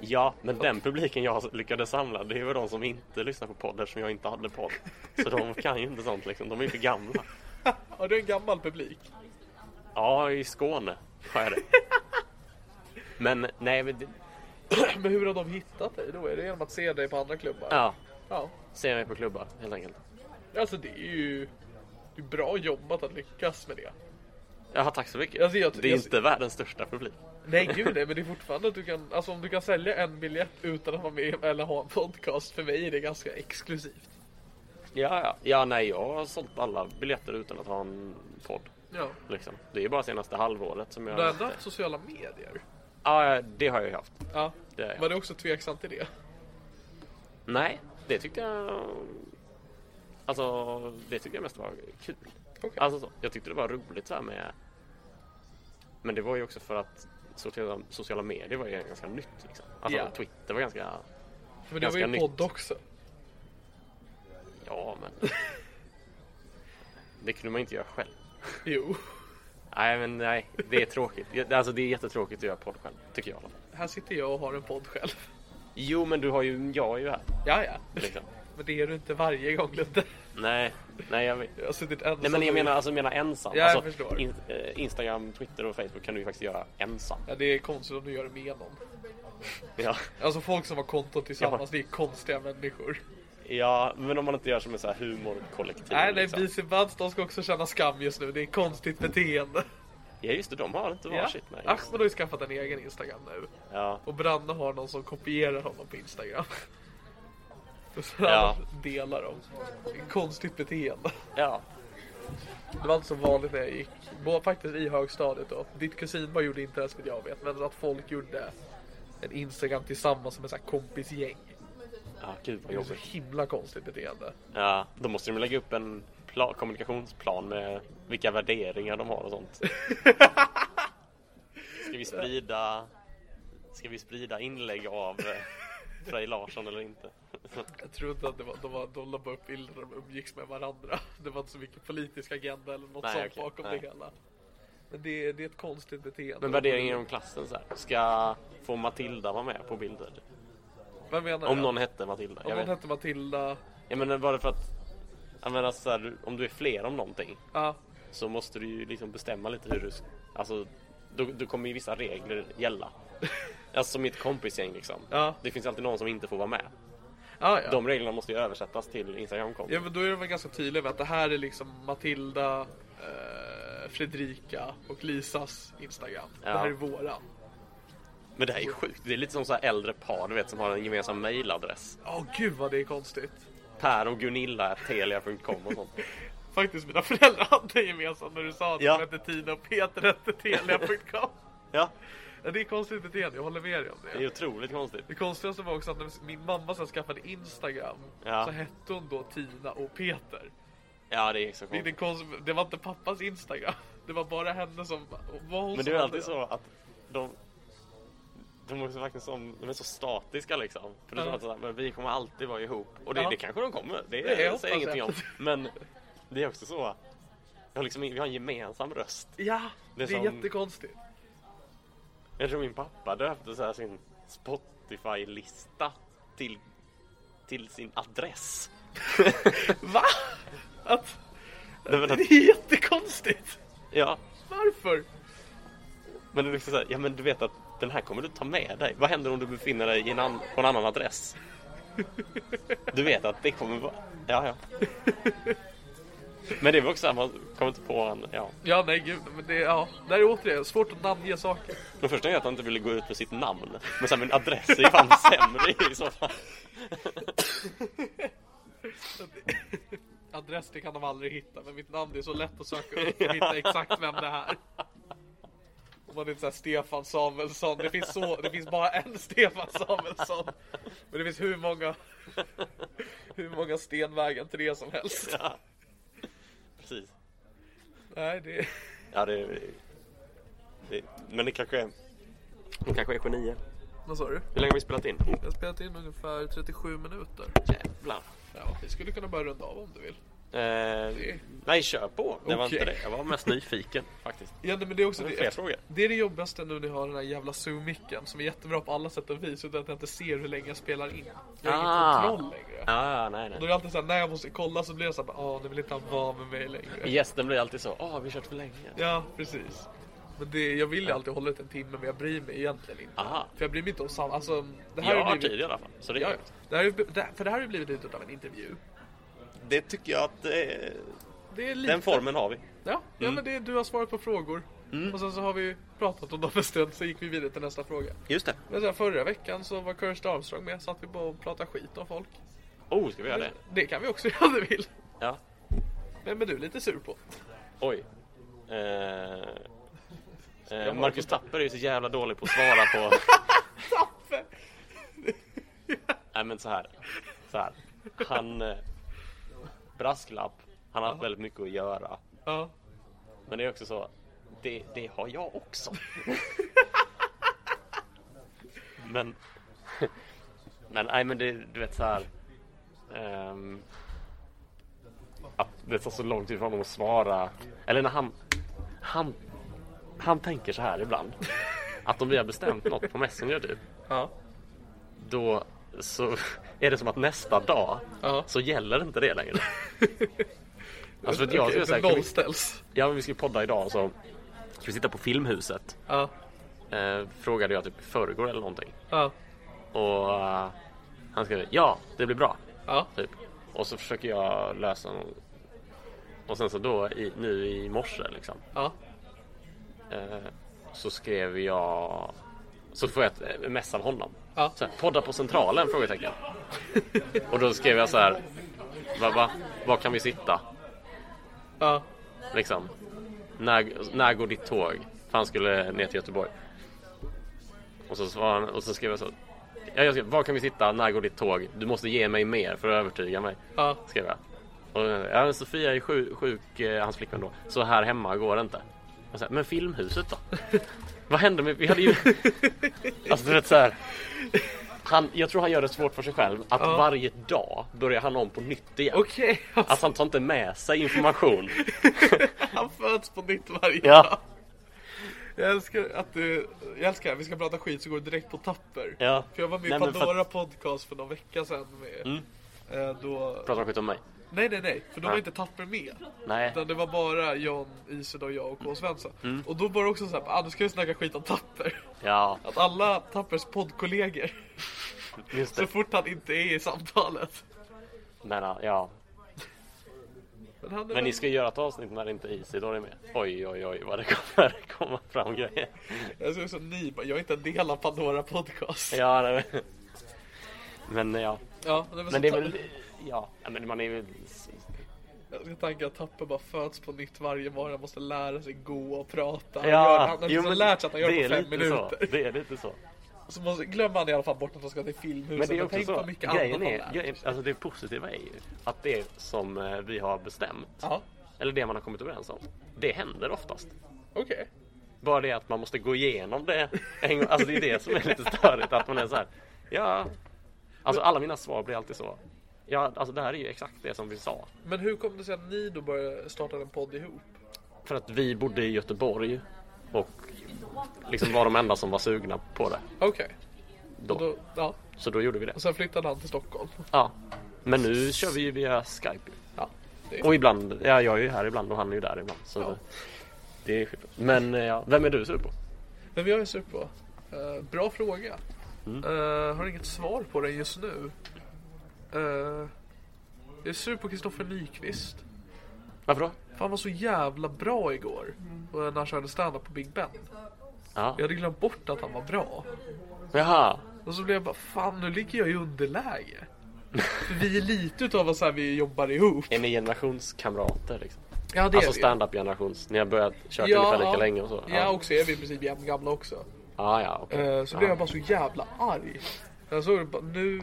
Speaker 3: Ja, men den publiken jag lyckades samla det är väl de som inte lyssnar på poddar som jag inte hade podd. Så de kan ju inte sånt liksom. De är ju för gamla.
Speaker 2: Har du en gammal publik? *clears throat*
Speaker 3: Ja, i Skåne har jag det. Men nej, men, det-
Speaker 2: Men hur har de hittat dig då? Är det genom att se dig på andra klubbar?
Speaker 3: ja.
Speaker 2: ja.
Speaker 3: Se mig på klubbar helt enkelt.
Speaker 2: Alltså det är ju det är bra jobbat att lyckas med det.
Speaker 3: Ja, tack så mycket.
Speaker 2: Alltså, jag-
Speaker 3: det är
Speaker 2: jag-
Speaker 3: inte världens största publik.
Speaker 2: Nej gud nej, men det är fortfarande att du kan, alltså om du kan sälja en biljett utan att vara med eller ha en podcast, för mig är det ganska exklusivt.
Speaker 3: Ja, ja. ja, nej, jag har sålt alla biljetter utan att ha en podd.
Speaker 2: Ja.
Speaker 3: Liksom. Det är bara senaste halvåret som jag...
Speaker 2: Du har ändå haft sociala medier.
Speaker 3: Ja, ja, det har jag ju haft.
Speaker 2: Ja.
Speaker 3: Det har jag.
Speaker 2: Var du också tveksam till det?
Speaker 3: Nej, det tyckte jag... Alltså, det tyckte jag mest var kul.
Speaker 2: Okej.
Speaker 3: Alltså, så. jag tyckte det var roligt så här med... Men det var ju också för att sociala, sociala medier var ju ganska nytt. Liksom. Alltså,
Speaker 2: Ja.
Speaker 3: Twitter var ganska...
Speaker 2: Men det var ju
Speaker 3: Ganska
Speaker 2: podd
Speaker 3: nytt.
Speaker 2: också.
Speaker 3: Ja, *laughs* men... det kunde man inte göra själv.
Speaker 2: Jo.
Speaker 3: Nej, men nej. Det är tråkigt. Jag- Alltså, det är jättetråkigt att göra podd själv, tycker jag. i alla fall.
Speaker 2: Här sitter jag och har en podd själv.
Speaker 3: Jo, men du har ju... Jag är ju här,
Speaker 2: Ja, ja.
Speaker 3: liksom.
Speaker 2: Men det är du inte varje gång Ludde.
Speaker 3: Nej, nej, jag vet.
Speaker 2: Jag har suttit ensam.
Speaker 3: Nej men jag
Speaker 2: nu.
Speaker 3: menar, alltså, jag menar ensam.
Speaker 2: Ja, jag
Speaker 3: alltså,
Speaker 2: förstår.
Speaker 3: in, eh, Instagram, Twitter och Facebook kan du ju faktiskt göra ensam.
Speaker 2: Ja, det är konstigt om du gör det med någon.
Speaker 3: Ja.
Speaker 2: Alltså folk som har konton tillsammans,
Speaker 3: Ja.
Speaker 2: det är konstiga människor.
Speaker 3: ja, men om man inte gör som en sån här humorkollektiv.
Speaker 2: Nej, nej,
Speaker 3: liksom.
Speaker 2: BC Buds, de ska också känna skam just nu. Det är ett konstigt beteende.
Speaker 3: Ja just det, de har inte varsitt. Nej, just
Speaker 2: Ahmed har ju skaffat en egen Instagram nu.
Speaker 3: det. Ja.
Speaker 2: Och Branne har någon som kopierar honom på Instagram. *laughs* Och sen
Speaker 3: Ja.
Speaker 2: delar dem. Det är ett konstigt beteende.
Speaker 3: ja.
Speaker 2: Det var inte så vanligt när jag gick, både faktiskt i högstadiet då. Ditt kusinbarn gjorde inte ens vad jag vet, men att folk gjorde en Instagram tillsammans som en sån här kompisgäng.
Speaker 3: Ja, Ah, gud vad
Speaker 2: Det är så
Speaker 3: jobbigt.
Speaker 2: himla konstigt beteende.
Speaker 3: Ja, då måste de lägga upp en pla- kommunikationsplan med vilka värderingar de har och sånt. Ska vi sprida... Ska vi sprida inlägg av eh, Frej Larsson eller inte?
Speaker 2: Jag tror inte att det var, de, var, de la bara upp bilder där de umgicks med varandra. *laughs* Det var inte så mycket politisk agenda eller något
Speaker 3: Nej,
Speaker 2: sånt
Speaker 3: okej,
Speaker 2: bakom
Speaker 3: nej.
Speaker 2: det hela. Men det, är- det är ett konstigt beteende.
Speaker 3: Men värderingen om klassen så här. Ska få Matilda vara med på bilder?
Speaker 2: Vad menar
Speaker 3: Om
Speaker 2: jag?
Speaker 3: någon hette Matilda.
Speaker 2: Om
Speaker 3: Jag,
Speaker 2: någon
Speaker 3: vet.
Speaker 2: hette Matilda.
Speaker 3: jag menar bara för att jag menar så här, om du är fler om någonting
Speaker 2: Ja,
Speaker 3: så måste du ju liksom bestämma lite hur du alltså då, då kommer ju vissa regler gälla.
Speaker 2: *laughs*
Speaker 3: Alltså som i ett kompisgäng liksom.
Speaker 2: Ja.
Speaker 3: Det finns alltid någon som inte får vara med.
Speaker 2: ja, ja.
Speaker 3: De reglerna måste ju översättas till Instagram-konto.
Speaker 2: Ja men då är de väl ganska tydliga med att det här är liksom Matilda, eh, Fredrika och Lisas Instagram. Det
Speaker 3: Ja.
Speaker 2: här är våran.
Speaker 3: Men det här är ju sjukt. Det är lite som så här äldre par du vet som har en gemensam mailadress.
Speaker 2: Åh gud vad det är konstigt.
Speaker 3: Per och Gunilla telia.com och sånt.
Speaker 2: Faktiskt mina föräldrar *laughs* hade en gemensam när du sa att
Speaker 3: Ja.
Speaker 2: de hette Tina och Peter hette Telia.com.
Speaker 3: Ja,
Speaker 2: Ja, det är konstigt beteende, jag håller med dig om
Speaker 3: det är
Speaker 2: det.
Speaker 3: otroligt konstigt.
Speaker 2: Det konstigaste var också att när min mamma sen skaffade Instagram
Speaker 3: Ja.
Speaker 2: så hette hon då Tina och Peter.
Speaker 3: Ja, det är så
Speaker 2: Det, är
Speaker 3: konstigt.
Speaker 2: den konst... det var inte pappas *laughs* Instagram. Det var bara henne som... Var hon som
Speaker 3: Men det är
Speaker 2: hade
Speaker 3: alltid
Speaker 2: den?
Speaker 3: så att de... de är också verkligen som, de är så statiska liksom. För det
Speaker 2: Ja.
Speaker 3: är så här, men vi kommer alltid vara ihop. Och det,
Speaker 2: Ja.
Speaker 3: det kanske de kommer. Det,
Speaker 2: Det hoppas
Speaker 3: säger jag ingenting
Speaker 2: jag.
Speaker 3: om. Men det är också så. Vi har, liksom, vi har en gemensam röst.
Speaker 2: Ja, det
Speaker 3: Det
Speaker 2: är,
Speaker 3: är som-
Speaker 2: jättekonstigt.
Speaker 3: Jag tror min pappa döpte så här sin Spotify-lista till, till sin adress.
Speaker 2: Va? *laughs* Att, *laughs*
Speaker 3: Det var
Speaker 2: det
Speaker 3: att,
Speaker 2: är jättekonstigt.
Speaker 3: ja,
Speaker 2: Varför?
Speaker 3: men det är liksom så här, ja men du vet att den här kommer du ta med dig. Vad händer om du befinner dig i en an, på en annan adress? Du vet att det kommer vara... Ja, ja. Men det var också så här, man kommer inte på en... Ja.
Speaker 2: Ja, nej gud. Men det, ja. det här är återigen svårt att namnge saker.
Speaker 3: Den första är att han inte ville gå ut med sitt namn. Men sen min adress är ju *laughs* fan sämre i så fall.
Speaker 2: Adress det kan de aldrig hitta, men mitt namn det är så lätt att söka upp
Speaker 3: *laughs*
Speaker 2: och hitta exakt vem det är. Om man inte säger Stefan Samuelsson. Det finns, så, det finns bara en Stefan Samuelsson. Men det finns hur många, hur många Stenvägen tre som helst.
Speaker 3: Ja. Precis.
Speaker 2: Nej, det,
Speaker 3: Ja, det, det... Men det kanske är... De kanske är genier.
Speaker 2: vad sa du?
Speaker 3: Hur länge har vi spelat in?
Speaker 2: Jag har spelat in ungefär 37 minuter.
Speaker 3: Oh, Jävlar.
Speaker 2: Ja, vi skulle kunna börja runda av om du vill.
Speaker 3: Eh, nej, kör på. Det var inte
Speaker 2: Okej.
Speaker 3: det. Jag var mest nyfiken faktiskt.
Speaker 2: Ja, nej, men det är också
Speaker 3: Det är
Speaker 2: det.
Speaker 3: fler frågor.
Speaker 2: Det är det jobbigaste nu när jag har den här jävla Zoom-micken som är jättebra på alla sätt och vis utan att jag inte ser hur länge jag spelar in. Jag har
Speaker 3: Ah.
Speaker 2: ingen kontroll längre.
Speaker 3: Ah, nej,
Speaker 2: Då är
Speaker 3: nej.
Speaker 2: det alltid såhär, när jag måste kolla så blir jag såhär, åh nu vill inte han vara med mig längre.
Speaker 3: Gästen blir alltid så. Åh, vi har kört för länge.
Speaker 2: Ja, precis. Men det, jag vill ju alltid hålla ut en timme men jag bryr mig egentligen inte.
Speaker 3: Aha.
Speaker 2: För jag bryr mig inte om samma, alltså det här
Speaker 3: Jag
Speaker 2: har
Speaker 3: har
Speaker 2: ju blivit,
Speaker 3: tid i alla fall. Så det
Speaker 2: ja,
Speaker 3: gör
Speaker 2: ja.
Speaker 3: jag.
Speaker 2: det här, är ju- det, För det här har ju blivit lite av en intervju.
Speaker 3: Det tycker jag att... Eh,
Speaker 2: Det är lite,
Speaker 3: den formen Mm. har vi.
Speaker 2: Ja, ja men det, är- du har svarat på frågor. Och sen så har vi pratat om dem en stund, så gick vi vidare till nästa fråga.
Speaker 3: Just det.
Speaker 2: Men sen förra veckan så var Kirsten Armstrong med, satt vi bara och pratade skit om folk.
Speaker 3: Oh, ska vi göra det?
Speaker 2: Det kan vi också *laughs* göra om du vill.
Speaker 3: Ja.
Speaker 2: Vem är du lite sur på?
Speaker 3: Oj. Eh, eh, Marcus Tapper är ju så jävla dålig på att svara *laughs* på...
Speaker 2: Tapper!
Speaker 3: Nej men så här. Så här. Han... Eh, brasklapp. Han har haft väldigt mycket att göra.
Speaker 2: Ja.
Speaker 3: Men det är också så. Det, det har jag
Speaker 2: *laughs*
Speaker 3: också. men... Men nej men det, du vet så här. ehm, att det tar så lång tid för honom att svara. Eller när han... Han, han tänker så här ibland. Att om vi har bestämt något på Messenger typ.
Speaker 2: Ja.
Speaker 3: då så är det som att nästa dag
Speaker 2: Ja.
Speaker 3: så gäller inte
Speaker 2: *laughs*
Speaker 3: det längre. alltså för att jag skulle säga, kan vi,
Speaker 2: nollställs.
Speaker 3: ja, men vi ska podda idag alltså. så ska vi sitta på Filmhuset.
Speaker 2: Ja.
Speaker 3: Eh, frågade jag typ i förrgår eller någonting.
Speaker 2: Ja.
Speaker 3: Och eh, han skrev ja, det blir bra.
Speaker 2: Ja.
Speaker 3: Typ. Och så försöker jag lösa någon. Och sen så då i, nu i morse liksom.
Speaker 2: Ja.
Speaker 3: Eh, så skrev jag så får jag ett eh, mess av honom.
Speaker 2: Ja.
Speaker 3: Så här, podda på centralen? *laughs* Frågetecken. Och då skrev jag så här. Va, va, var kan vi sitta?
Speaker 2: Ja.
Speaker 3: Liksom. När, när går ditt tåg? För han skulle ner till Göteborg. Och så, svarade han, och så skrev jag så. Ja, jag skrev, var kan vi sitta? När går ditt tåg? Du måste ge mig mer för att övertyga mig.
Speaker 2: Ja.
Speaker 3: Skrev jag. Och, ja, men Sofia är sjuk, sjuk eh, hans flickvän då. Så här hemma går det inte. Jag sa, men filmhuset då? *laughs* Vad hände med... Vi hade ju... *laughs* Alltså du vet så här. Han, jag tror han gör det svårt för sig själv att varje dag börjar han om på nytt igen.
Speaker 2: Okej, *laughs*
Speaker 3: Alltså han tar inte med sig information.
Speaker 2: han föds på nytt varje dag.
Speaker 3: Ja.
Speaker 2: Jag älskar att du, jag älskar att vi ska prata skit så går det direkt på tapper.
Speaker 3: Ja.
Speaker 2: För jag var med
Speaker 3: Nej,
Speaker 2: på
Speaker 3: men för att-
Speaker 2: Pandora podcast för någon vecka sedan med, eh, då,
Speaker 3: Pratar han skit om mig?
Speaker 2: nej nej nej, för då var
Speaker 3: Ja.
Speaker 2: inte tapper med.
Speaker 3: Nej. Mm.
Speaker 2: Utan det var bara John Ised och jag och K. Svensson. Och då var det också såhär, ah, nu ska vi snacka skit om Tapper.
Speaker 3: Ja,
Speaker 2: Att alla Tappers poddkollegor,
Speaker 3: just
Speaker 2: så
Speaker 3: det.
Speaker 2: fort han inte är i samtalet.
Speaker 3: Men, ja, ja.
Speaker 2: Men, han är
Speaker 3: Men ni
Speaker 2: väl-
Speaker 3: ska ju göra ett avsnitt när det inte är Isidor är med. Oj, oj, oj vad det kommer *laughs* komma fram grejer.
Speaker 2: Jag ser ut som ni, bara, jag är inte en del av Pandora podcast.
Speaker 3: Ja, nej, men- men ja.
Speaker 2: Ja, men,
Speaker 3: Men det är väl... Ja, ja, men man är väl...
Speaker 2: Jag ska tanka att Tapper bara föds på nytt varje morgon, han måste lära sig gå och prata. Han, gör,
Speaker 3: Ja,
Speaker 2: han har
Speaker 3: jo,
Speaker 2: liksom
Speaker 3: men
Speaker 2: lärt sig att han gör det
Speaker 3: det
Speaker 2: på
Speaker 3: är
Speaker 2: fem
Speaker 3: lite
Speaker 2: minuter.
Speaker 3: Så, det är lite så.
Speaker 2: Så måste, glömmer han i alla fall bort att han ska till filmhuset.
Speaker 3: Men det är också
Speaker 2: tänk
Speaker 3: så.
Speaker 2: vad mycket annat
Speaker 3: Grejen
Speaker 2: han
Speaker 3: är,
Speaker 2: lärt sig.
Speaker 3: grejen, alltså det positiva är ju att det som eh, vi har bestämt,
Speaker 2: Ja,
Speaker 3: eller det man har kommit överens om, det händer oftast.
Speaker 2: okej.
Speaker 3: Bara det att man måste gå igenom det en gång. Alltså det är det som är lite störigt. Att man är så här. Ja. Alltså alla mina svar blir alltid så. Ja, alltså det här är ju exakt det som vi sa.
Speaker 2: Men hur kom det sig att ni då började starta en podd ihop?
Speaker 3: För att vi bodde i Göteborg. Och liksom var de enda som var sugna på det.
Speaker 2: Okej.
Speaker 3: Då.
Speaker 2: Och Då, ja.
Speaker 3: Så då gjorde vi det.
Speaker 2: Och sen flyttade han till Stockholm.
Speaker 3: Ja. Men nu kör vi ju via Skype.
Speaker 2: Ja. Det är...
Speaker 3: Och ibland, ja jag är ju här ibland och han är ju där ibland. Så
Speaker 2: Ja.
Speaker 3: det är skillnad. Men eh, ja, vem är du sur på?
Speaker 2: Men vi har ju sur på. Eh, bra fråga.
Speaker 3: Mm.
Speaker 2: Eh, har inget svar på den just nu. Eh, jag är sur på Kristoffer Nyqvist.
Speaker 3: Varför då?
Speaker 2: För han var så jävla bra igår. Och när han körde stand-up på Big Ben.
Speaker 3: Ja.
Speaker 2: Jag hade glömt bort att han var bra.
Speaker 3: Jaha.
Speaker 2: Och så blev jag bara, fan nu ligger jag i
Speaker 3: *laughs*
Speaker 2: underläge. För vi är lite utav vad så här, vi jobbar ihop.
Speaker 3: Är ni generationskamrater liksom?
Speaker 2: Ja det
Speaker 3: Alltså
Speaker 2: är vi.
Speaker 3: stand up generations Ni har börjat köra ungefär lika länge och så?
Speaker 2: Ja, och så är vi i princip jämngamla också.
Speaker 3: ja, ja okej.
Speaker 2: Eh, Så blev jag bara så jävla arg. Jag såg det bara, nu,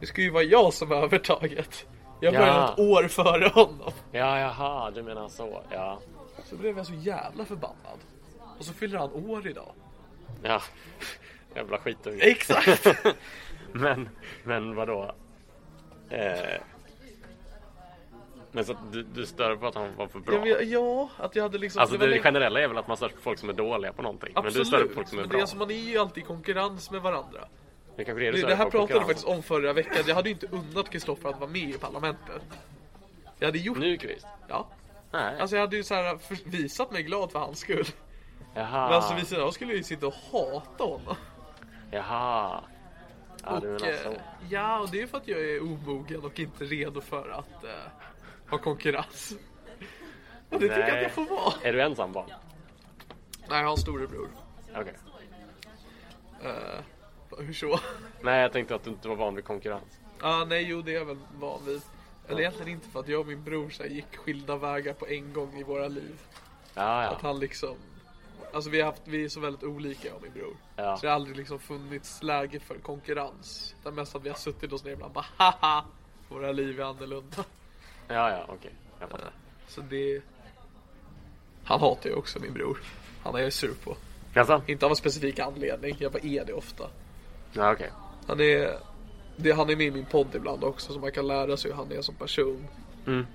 Speaker 2: det ska ju vara jag som har övertaget. Jag
Speaker 3: Ja.
Speaker 2: började ett år före honom.
Speaker 3: Ja, jaha, du menar så. Ja.
Speaker 2: Så blev jag så jävla förbannad. Och så fyller han år idag.
Speaker 3: Ja. *laughs* Jävla skitunge. *laughs*
Speaker 2: Exakt!
Speaker 3: Men, men vadå? Eh. Men så att du, du stör på att han var för bra?
Speaker 2: ja, men, ja, att jag hade liksom...
Speaker 3: Alltså
Speaker 2: var
Speaker 3: det,
Speaker 2: länge-
Speaker 3: generella är väl att man stör på folk som är dåliga på någonting. Men du
Speaker 2: Absolut.
Speaker 3: stör på folk som är
Speaker 2: Men
Speaker 3: bra.
Speaker 2: det, alltså, man är ju alltid i konkurrens med varandra.
Speaker 3: Det kanske är det du
Speaker 2: Det,
Speaker 3: stör
Speaker 2: det här
Speaker 3: på
Speaker 2: pratade vi
Speaker 3: konkurrensen.
Speaker 2: faktiskt om förra veckan. Jag hade ju inte unnat Kristoffer att vara med i Parlamentet. Jag hade gjort...
Speaker 3: Nyqvist?
Speaker 2: Ja.
Speaker 3: Nej.
Speaker 2: Alltså jag hade ju så här för- visat mig glad för hans skull.
Speaker 3: jaha.
Speaker 2: Men alltså vid sidan av skulle jag ju sitta och hata honom.
Speaker 3: Jaha. Ja, du
Speaker 2: och,
Speaker 3: menar så.
Speaker 2: eh, ja, och det är för att jag är omogen och inte redo för att eh, ha konkurrens. Och det tycker jag att jag får vara.
Speaker 3: Är du ensam barn?
Speaker 2: Nej, jag har en storebror.
Speaker 3: Okej.
Speaker 2: Hur så?
Speaker 3: Nej, jag tänkte att du inte var van vid konkurrens.
Speaker 2: Ja, nej, jo, det är jag väl van vid. Eller egentligen inte för att jag och min bror så här, gick skilda vägar på en gång i våra liv.
Speaker 3: Ja, ja.
Speaker 2: Att han liksom... Alltså vi, har haft, vi är så väldigt olika jag och min bror.
Speaker 3: Ja.
Speaker 2: Så det har aldrig liksom funnits läge för konkurrens. Utan mest att vi har suttit oss ner ibland bara haha! Våra liv är annorlunda.
Speaker 3: Ja, ja, okej. Jag
Speaker 2: Eh,
Speaker 3: fattar.
Speaker 2: Så det... Han hatar ju också min bror. Han är jag sur på.
Speaker 3: Jaså?
Speaker 2: Inte av en specifik anledning, jag bara är det ofta.
Speaker 3: Ja, okej.
Speaker 2: Han är, det, han är med i min podd ibland också så man kan lära sig hur han är som person.
Speaker 3: Mm.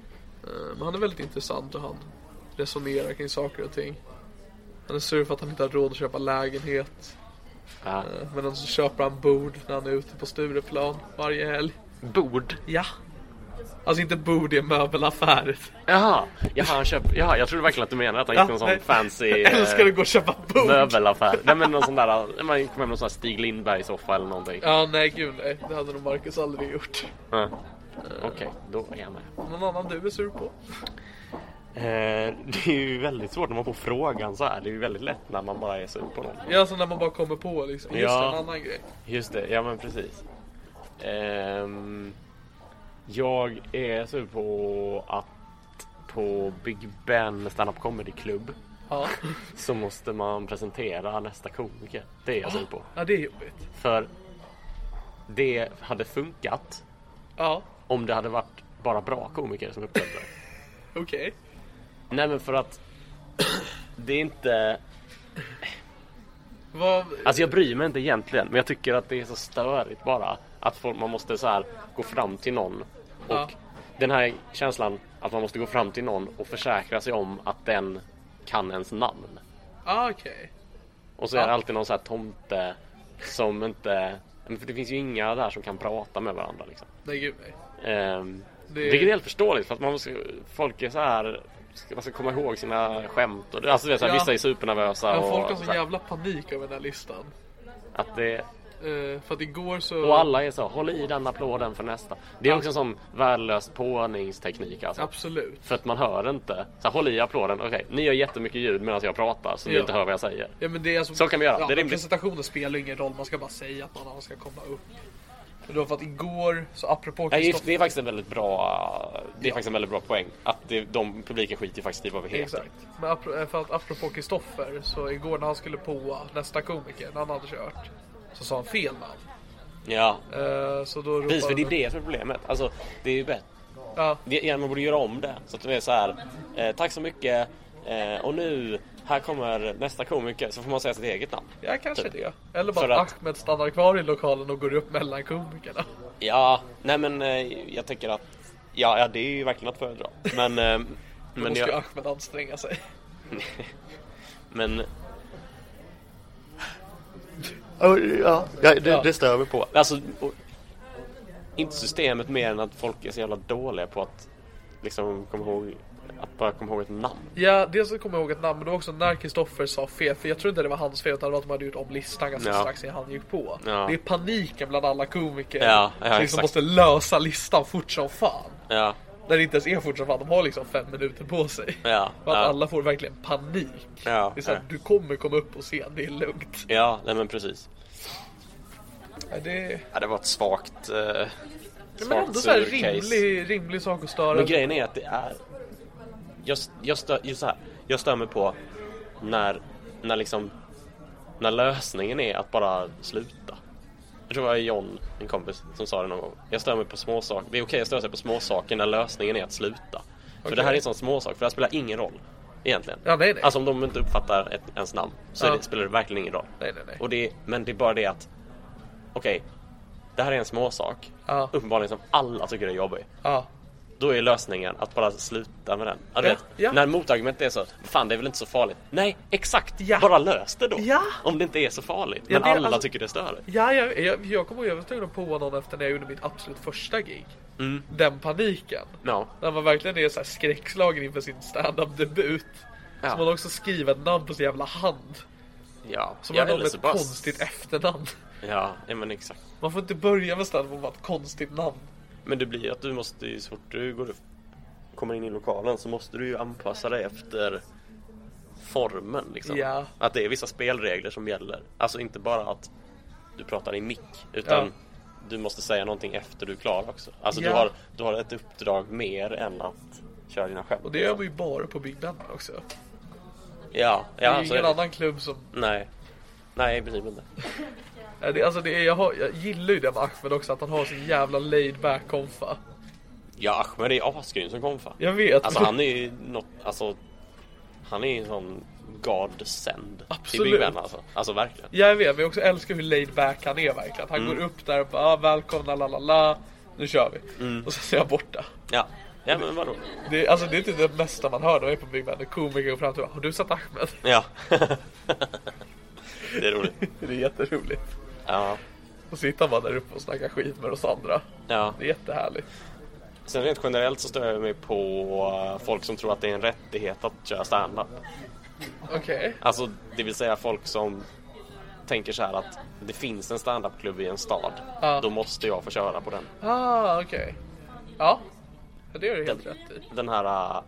Speaker 2: Eh, Men han är väldigt intressant och han resonerar kring saker och ting. Han är sur för att han inte har råd att köpa lägenhet.
Speaker 3: Ja.
Speaker 2: eh, Men så köper han bord när han är ute på Stureplan varje helg.
Speaker 3: Bord?
Speaker 2: Ja. Alltså inte bord i en möbelaffär.
Speaker 3: Jaha. Jaha, han köper... Jaha, jag trodde verkligen att du menade att han gick till en sån
Speaker 2: nej. *laughs*
Speaker 3: fancy...
Speaker 2: Jag älskar
Speaker 3: eh,
Speaker 2: att gå och köpa bord.
Speaker 3: Möbelaffär. Nej men någon sån där, man kommer hem någon sån här Stig Lindberg-soffa eller någonting.
Speaker 2: Ja, nej gud nej. Det hade nog Marcus aldrig gjort.
Speaker 3: Ja.
Speaker 2: Eh.
Speaker 3: Okej, då är jag med.
Speaker 2: Någon annan du är sur på?
Speaker 3: Eh, det är ju väldigt svårt när man får frågan så här. Det är ju väldigt lätt när man bara är sur på någon.
Speaker 2: Ja, alltså när man bara kommer på liksom. Just
Speaker 3: Ja.
Speaker 2: en annan grej.
Speaker 3: Just det, ja men precis. Ehm, jag är sur på att på Big Ben stand-up comedy klubb
Speaker 2: Ja.
Speaker 3: så måste man presentera nästa komiker. Det är jag sur på.
Speaker 2: ja, det är jobbigt.
Speaker 3: För det hade funkat
Speaker 2: Ja,
Speaker 3: om det hade varit bara bra komiker som uppträdde.
Speaker 2: okej.
Speaker 3: Nej men för att det är inte
Speaker 2: Vad...
Speaker 3: Alltså jag bryr mig inte egentligen men jag tycker att det är så störigt bara att folk, man måste så här gå fram till någon och
Speaker 2: Ja.
Speaker 3: den här känslan att man måste gå fram till någon och försäkra sig om att den kan ens namn.
Speaker 2: Ah, okej.
Speaker 3: Och så är det alltid någon så här tomte som inte men för det finns ju inga där som kan prata med varandra liksom.
Speaker 2: Nej, gud nej.
Speaker 3: Ehm,
Speaker 2: Det-
Speaker 3: Vilket är helt förståeligt för att man måste, folk är så här ska- man ska komma ihåg sina skämt och alltså, det är så här,
Speaker 2: Ja.
Speaker 3: vissa är supernervösa
Speaker 2: Men
Speaker 3: och,
Speaker 2: folk har sån
Speaker 3: så här,
Speaker 2: jävla panik över den här listan.
Speaker 3: att det
Speaker 2: Eh, för att igår så...
Speaker 3: Och alla är så, håll i den applåden för nästa. Det är också en sån värdelös påningsteknik alltså.
Speaker 2: Absolut.
Speaker 3: För att man hör inte. Så här, håll i applåden, okej, ni gör jättemycket ljud medan jag pratar så ni
Speaker 2: Ja.
Speaker 3: inte hör vad jag säger.
Speaker 2: Ja, men det är alltså...
Speaker 3: Så kan vi
Speaker 2: Ja,
Speaker 3: göra. Det är
Speaker 2: men
Speaker 3: rimligt.
Speaker 2: Presentationen spelar ingen roll, man ska bara säga att någon annan ska komma upp. Men då för att igår, så apropå
Speaker 3: Nej, just-
Speaker 2: Kristoffer-
Speaker 3: det är faktiskt en väldigt bra, det är faktiskt en väldigt bra poäng. Att det, de publiken skiter faktiskt i vad vi heter.
Speaker 2: Exakt. Men apro- eh, för att apropå Kristoffer, så igår när han skulle på nästa komiker, när han hade kört, så sa han fel namn.
Speaker 3: Ja,
Speaker 2: Eh, så då
Speaker 3: precis för det är
Speaker 2: ropade-
Speaker 3: det som är problemet. Alltså, det är ju bättre.
Speaker 2: Ja,
Speaker 3: Det, ja, man borde göra om det. Så att det är så här. Eh, tack så mycket. Eh, och nu, här kommer nästa komiker så får man säga sitt eget namn.
Speaker 2: Ja, kanske det. Eller bara
Speaker 3: För
Speaker 2: att
Speaker 3: att-
Speaker 2: Ahmed stannar kvar i lokalen och går upp mellan komikerna.
Speaker 3: Ja, nej men eh, jag tycker att, ja, ja det är ju verkligen att föredra. Men,
Speaker 2: *laughs*
Speaker 3: eh,
Speaker 2: Då
Speaker 3: men,
Speaker 2: måste ju
Speaker 3: jag,
Speaker 2: Ahmed anstränga sig.
Speaker 3: men
Speaker 4: Ja, ja det, det stör vi på.
Speaker 3: Alltså, och, inte systemet mer än att folk är så jävla dåliga på att liksom komma ihåg, att bara komma ihåg ett namn.
Speaker 2: Ja, dels så kommer jag ihåg ett namn, men det var också när Kristoffer sa fel. För jag tror inte det var hans fel, utan det var att de hade gjort om listan ganska
Speaker 3: Ja.
Speaker 2: strax innan han gick på.
Speaker 3: Ja.
Speaker 2: Det är paniken bland alla komiker.
Speaker 3: Ja, ja,
Speaker 2: som liksom
Speaker 3: exakt.
Speaker 2: måste lösa listan fort som fan.
Speaker 3: Ja,
Speaker 2: När det inte ens är fort som fan, de har liksom fem minuter på sig.
Speaker 3: ja,
Speaker 2: Och att
Speaker 3: ja,
Speaker 2: alla får verkligen panik.
Speaker 3: Ja,
Speaker 2: det är så här,
Speaker 3: ja.
Speaker 2: du kommer komma upp på scen, det är lugnt.
Speaker 3: ja, nej men precis.
Speaker 2: Ja, det...
Speaker 3: Ja, det var ett svagt, eh,
Speaker 2: Men
Speaker 3: svagt
Speaker 2: ändå så här
Speaker 3: sur eh, case.
Speaker 2: rimlig, rimlig sak att störa.
Speaker 3: Men grejen är att det är, jag, jag, stör, just så här, jag stör mig på när, när liksom, när lösningen är att bara sluta. Jag tror det var John, en kompis, som sa det någon gång. Jag stör mig på småsaker. Det är okej att störa sig på småsaker när lösningen är att sluta. För det här är en sån småsak, för det här spelar ingen roll. Egentligen.
Speaker 2: Ja, nej, nej.
Speaker 3: Alltså om de inte uppfattar ett, ens namn så är
Speaker 2: Ja.
Speaker 3: det, spelar det verkligen ingen roll.
Speaker 2: Nej, nej, nej.
Speaker 3: Och det, men det är bara det att, okej, det här är en småsak.
Speaker 2: Ja.
Speaker 3: Uppenbarligen som alla tycker är jobbig.
Speaker 2: Ja.
Speaker 3: Då är lösningen att bara sluta med den. Ja, du
Speaker 2: Ja,
Speaker 3: vet,
Speaker 2: ja.
Speaker 3: När motargumentet är så, fan det är väl inte så farligt. Nej, exakt!
Speaker 2: Ja.
Speaker 3: Bara lös det då!
Speaker 2: Ja.
Speaker 3: Om det inte är så farligt.
Speaker 2: Ja,
Speaker 3: Men
Speaker 2: det är
Speaker 3: alla
Speaker 2: alltså-
Speaker 3: tycker det är störigt.
Speaker 2: Ja, jag, jag, jag kommer ihåg jag var tvungen att påa någon efter när jag gjorde mitt absolut första gig. Den paniken.
Speaker 3: Mm. Ja.
Speaker 2: När man verkligen är så här skräckslagen inför sin stand-up debut. Så
Speaker 3: Ja.
Speaker 2: man också skriver ett namn på sin jävla hand.
Speaker 3: Ja,
Speaker 2: Som
Speaker 3: ja,
Speaker 2: man har
Speaker 3: eller
Speaker 2: ett
Speaker 3: så bara-
Speaker 2: konstigt efternamn.
Speaker 3: Ja, ja, men exakt.
Speaker 2: Man får inte börja med stand-up om man har ett konstigt namn.
Speaker 3: Men det blir att du måste ju, så fort du går upp, kommer in i lokalen så måste du ju anpassa dig efter formen liksom.
Speaker 2: Ja.
Speaker 3: Att det är vissa spelregler som gäller. Alltså inte bara att du pratar i mick utan
Speaker 2: Ja.
Speaker 3: du måste säga någonting efter du är klar också. Alltså
Speaker 2: Ja.
Speaker 3: du, har, du har ett uppdrag mer än att köra dina skämt.
Speaker 2: Och det gör man ju bara på Big Ben också.
Speaker 3: Ja,
Speaker 2: Det
Speaker 3: ja
Speaker 2: är ju
Speaker 3: alltså,
Speaker 2: ingen annan klubb som...
Speaker 3: Nej. Nej, i princip inte.
Speaker 2: Ja, Det, alltså det är, jag, har, jag gillar ju det med Ahmed också, att han har sin jävla laid back konfa.
Speaker 3: Ja, Ahmed är asgrym som konfa.
Speaker 2: Jag vet.
Speaker 3: Alltså han är ju något, alltså han är ju en sån God send till
Speaker 2: Absolut.
Speaker 3: Big Ben alltså. Alltså verkligen.
Speaker 2: *laughs* Jag vet, men jag också älskar hur laid back han är verkligen. Han
Speaker 3: Mm.
Speaker 2: går upp där och bara ah, välkomna la la la. Nu kör vi.
Speaker 3: Mm.
Speaker 2: Och sen är han borta.
Speaker 3: Ja, ja men vadå?
Speaker 2: Det, är- alltså, det är typ det mesta man hör när man är på Big Ben. När komiker går fram och bara, har du sett Ahmed? *laughs*
Speaker 3: Ja. *laughs* det är roligt.
Speaker 2: Det är jätteroligt.
Speaker 3: Ja.
Speaker 2: Och sitter han bara där uppe och snackar skit med oss andra.
Speaker 3: ja.
Speaker 2: Det är jättehärligt.
Speaker 3: Sen rent generellt så stör jag mig på eh, folk som tror att det är en rättighet att köra standup.
Speaker 2: Okej.
Speaker 3: Alltså, det vill säga folk som tänker så här att det finns en standupklubb i en stad.
Speaker 2: Ja.
Speaker 3: Då måste jag få köra på den.
Speaker 2: Ah, okej. Ja. Ja, Det gör du helt rätt i.
Speaker 3: Den här... eh,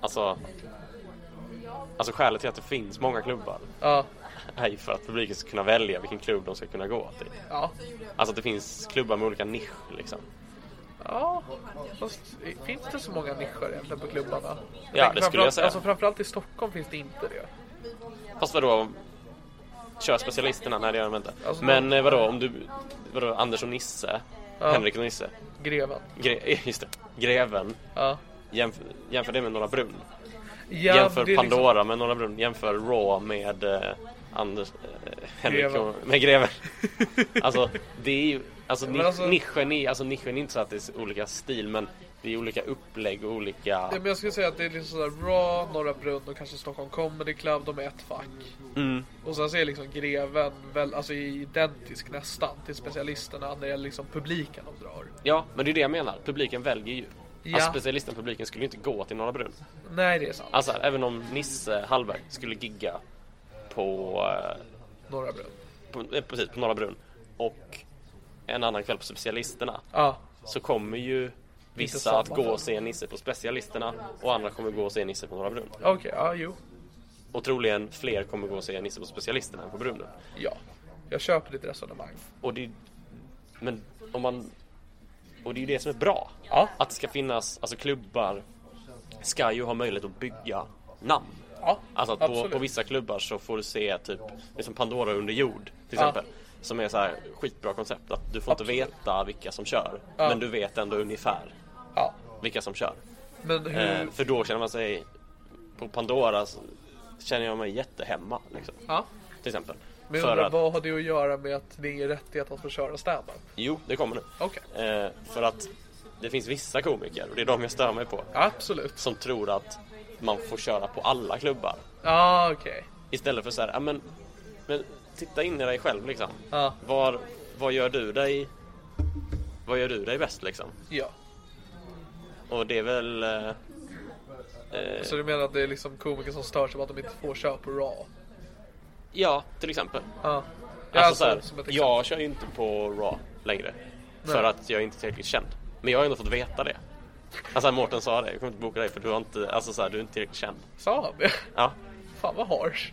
Speaker 3: Alltså... Alltså skälet till att det finns många klubbar
Speaker 2: Ja.
Speaker 3: är ju för att publiken ska kunna välja vilken klubb de ska kunna gå till.
Speaker 2: Ja.
Speaker 3: Alltså att det finns klubbar med olika nischer liksom.
Speaker 2: Ja, fast finns det så många nischer egentligen på klubbarna? Jag tänker
Speaker 3: det skulle jag
Speaker 2: framförallt-
Speaker 3: säga.
Speaker 2: Alltså framförallt i Stockholm finns det inte det.
Speaker 3: Fast vadå? Kör specialisterna? Nej det gör de inte.
Speaker 2: Alltså,
Speaker 3: Men eh, vadå om du... Vadå Anders och Nisse? Henrik och Nisse?
Speaker 2: Greven.
Speaker 3: Gre *laughs* just det. Greven.
Speaker 2: Ja.
Speaker 3: Jämför, jämför det med Norra Brunn.
Speaker 2: Ja,
Speaker 3: jämför
Speaker 2: det är liksom-
Speaker 3: Pandora med Norra Brunn. Jämför Raw med eh, Anders... Eh, Henrik
Speaker 2: Greven.
Speaker 3: och... Med
Speaker 2: *laughs*
Speaker 3: Greven. alltså det är ju... Alltså, ni,
Speaker 2: Men alltså-
Speaker 3: nischen, är, alltså nischen är inte så att det är så olika stil men det är olika upplägg och olika...
Speaker 2: Ja, men jag skulle säga att det är liksom sådär Raw, Norra Brunn och kanske Stockholm Comedy Club, de är ett fack.
Speaker 3: Mm.
Speaker 2: Och sen så är liksom Greven väl, alltså identisk nästan till specialisterna när det gäller liksom publiken de drar.
Speaker 3: Ja, men det är det jag menar. Publiken väljer ju.
Speaker 2: Ja.
Speaker 3: Alltså specialisten-publiken skulle ju inte gå till Norra Brunn.
Speaker 2: Nej, det är sant.
Speaker 3: Alltså även om Nisse Hallberg skulle gigga på, eh,
Speaker 2: Norra Brunn.
Speaker 3: på, eh, precis, på Norra Brunn och en annan kväll på Specialisterna
Speaker 2: Ja,
Speaker 3: så kommer ju
Speaker 2: samma
Speaker 3: vissa att gå och se Nisse på Specialisterna och andra kommer gå och se Nisse på Norra Brunn.
Speaker 2: okej, ja, jo.
Speaker 3: Och troligen fler kommer gå och se Nisse på Specialisterna än på Brunnen.
Speaker 2: Ja. Jag köper ditt resonemang.
Speaker 3: Och det, men om man... Och det är ju det som är bra.
Speaker 2: Ja.
Speaker 3: Att det ska finnas, alltså klubbar ska ju ha möjlighet att bygga namn.
Speaker 2: Ja,
Speaker 3: Alltså att på,
Speaker 2: absolut.
Speaker 3: på vissa klubbar så får du se typ, liksom Pandora under jord till
Speaker 2: Ja.
Speaker 3: exempel. Som är så här skitbra koncept att du får inte veta vilka som kör. Men du vet ändå ungefär
Speaker 2: Ja.
Speaker 3: vilka som kör.
Speaker 2: Men hur...
Speaker 3: Eh, för då känner man sig, på Pandora så känner jag mig jättehemma. Liksom,
Speaker 2: Ja.
Speaker 3: till exempel.
Speaker 2: Men jag
Speaker 3: för
Speaker 2: undrar,
Speaker 3: att,
Speaker 2: vad har det att göra med att det är ingen rättighet att få köra standup?
Speaker 3: jo, det kommer nu.
Speaker 2: Okej.
Speaker 3: Eh, för att det finns vissa komiker, och det är de jag stör mig på,
Speaker 2: Absolut.
Speaker 3: som tror att man får köra på alla klubbar.
Speaker 2: Ja, okej.
Speaker 3: Istället för så här, ja men, men titta in i dig själv liksom.
Speaker 2: Ja.
Speaker 3: Var, vad gör du dig, vad gör du dig bäst liksom?
Speaker 2: Ja.
Speaker 3: Och det är väl, eh,
Speaker 2: Så du menar att det är liksom komiker som stör sig på att de inte får köra på Raw?
Speaker 3: ja, till exempel.
Speaker 2: Ja. Ja,
Speaker 3: Alltså så
Speaker 2: som
Speaker 3: här,
Speaker 2: ett exempel.
Speaker 3: jag kör ju inte på Raw längre. För att jag är inte tillräckligt känd. Men jag har ändå fått veta det. Alltså Mårten sa det, jag kommer inte boka dig för du har inte, alltså så här, du är inte tillräckligt känd.
Speaker 2: Sa han det? *laughs*
Speaker 3: Ja.
Speaker 2: Fan vad harsh.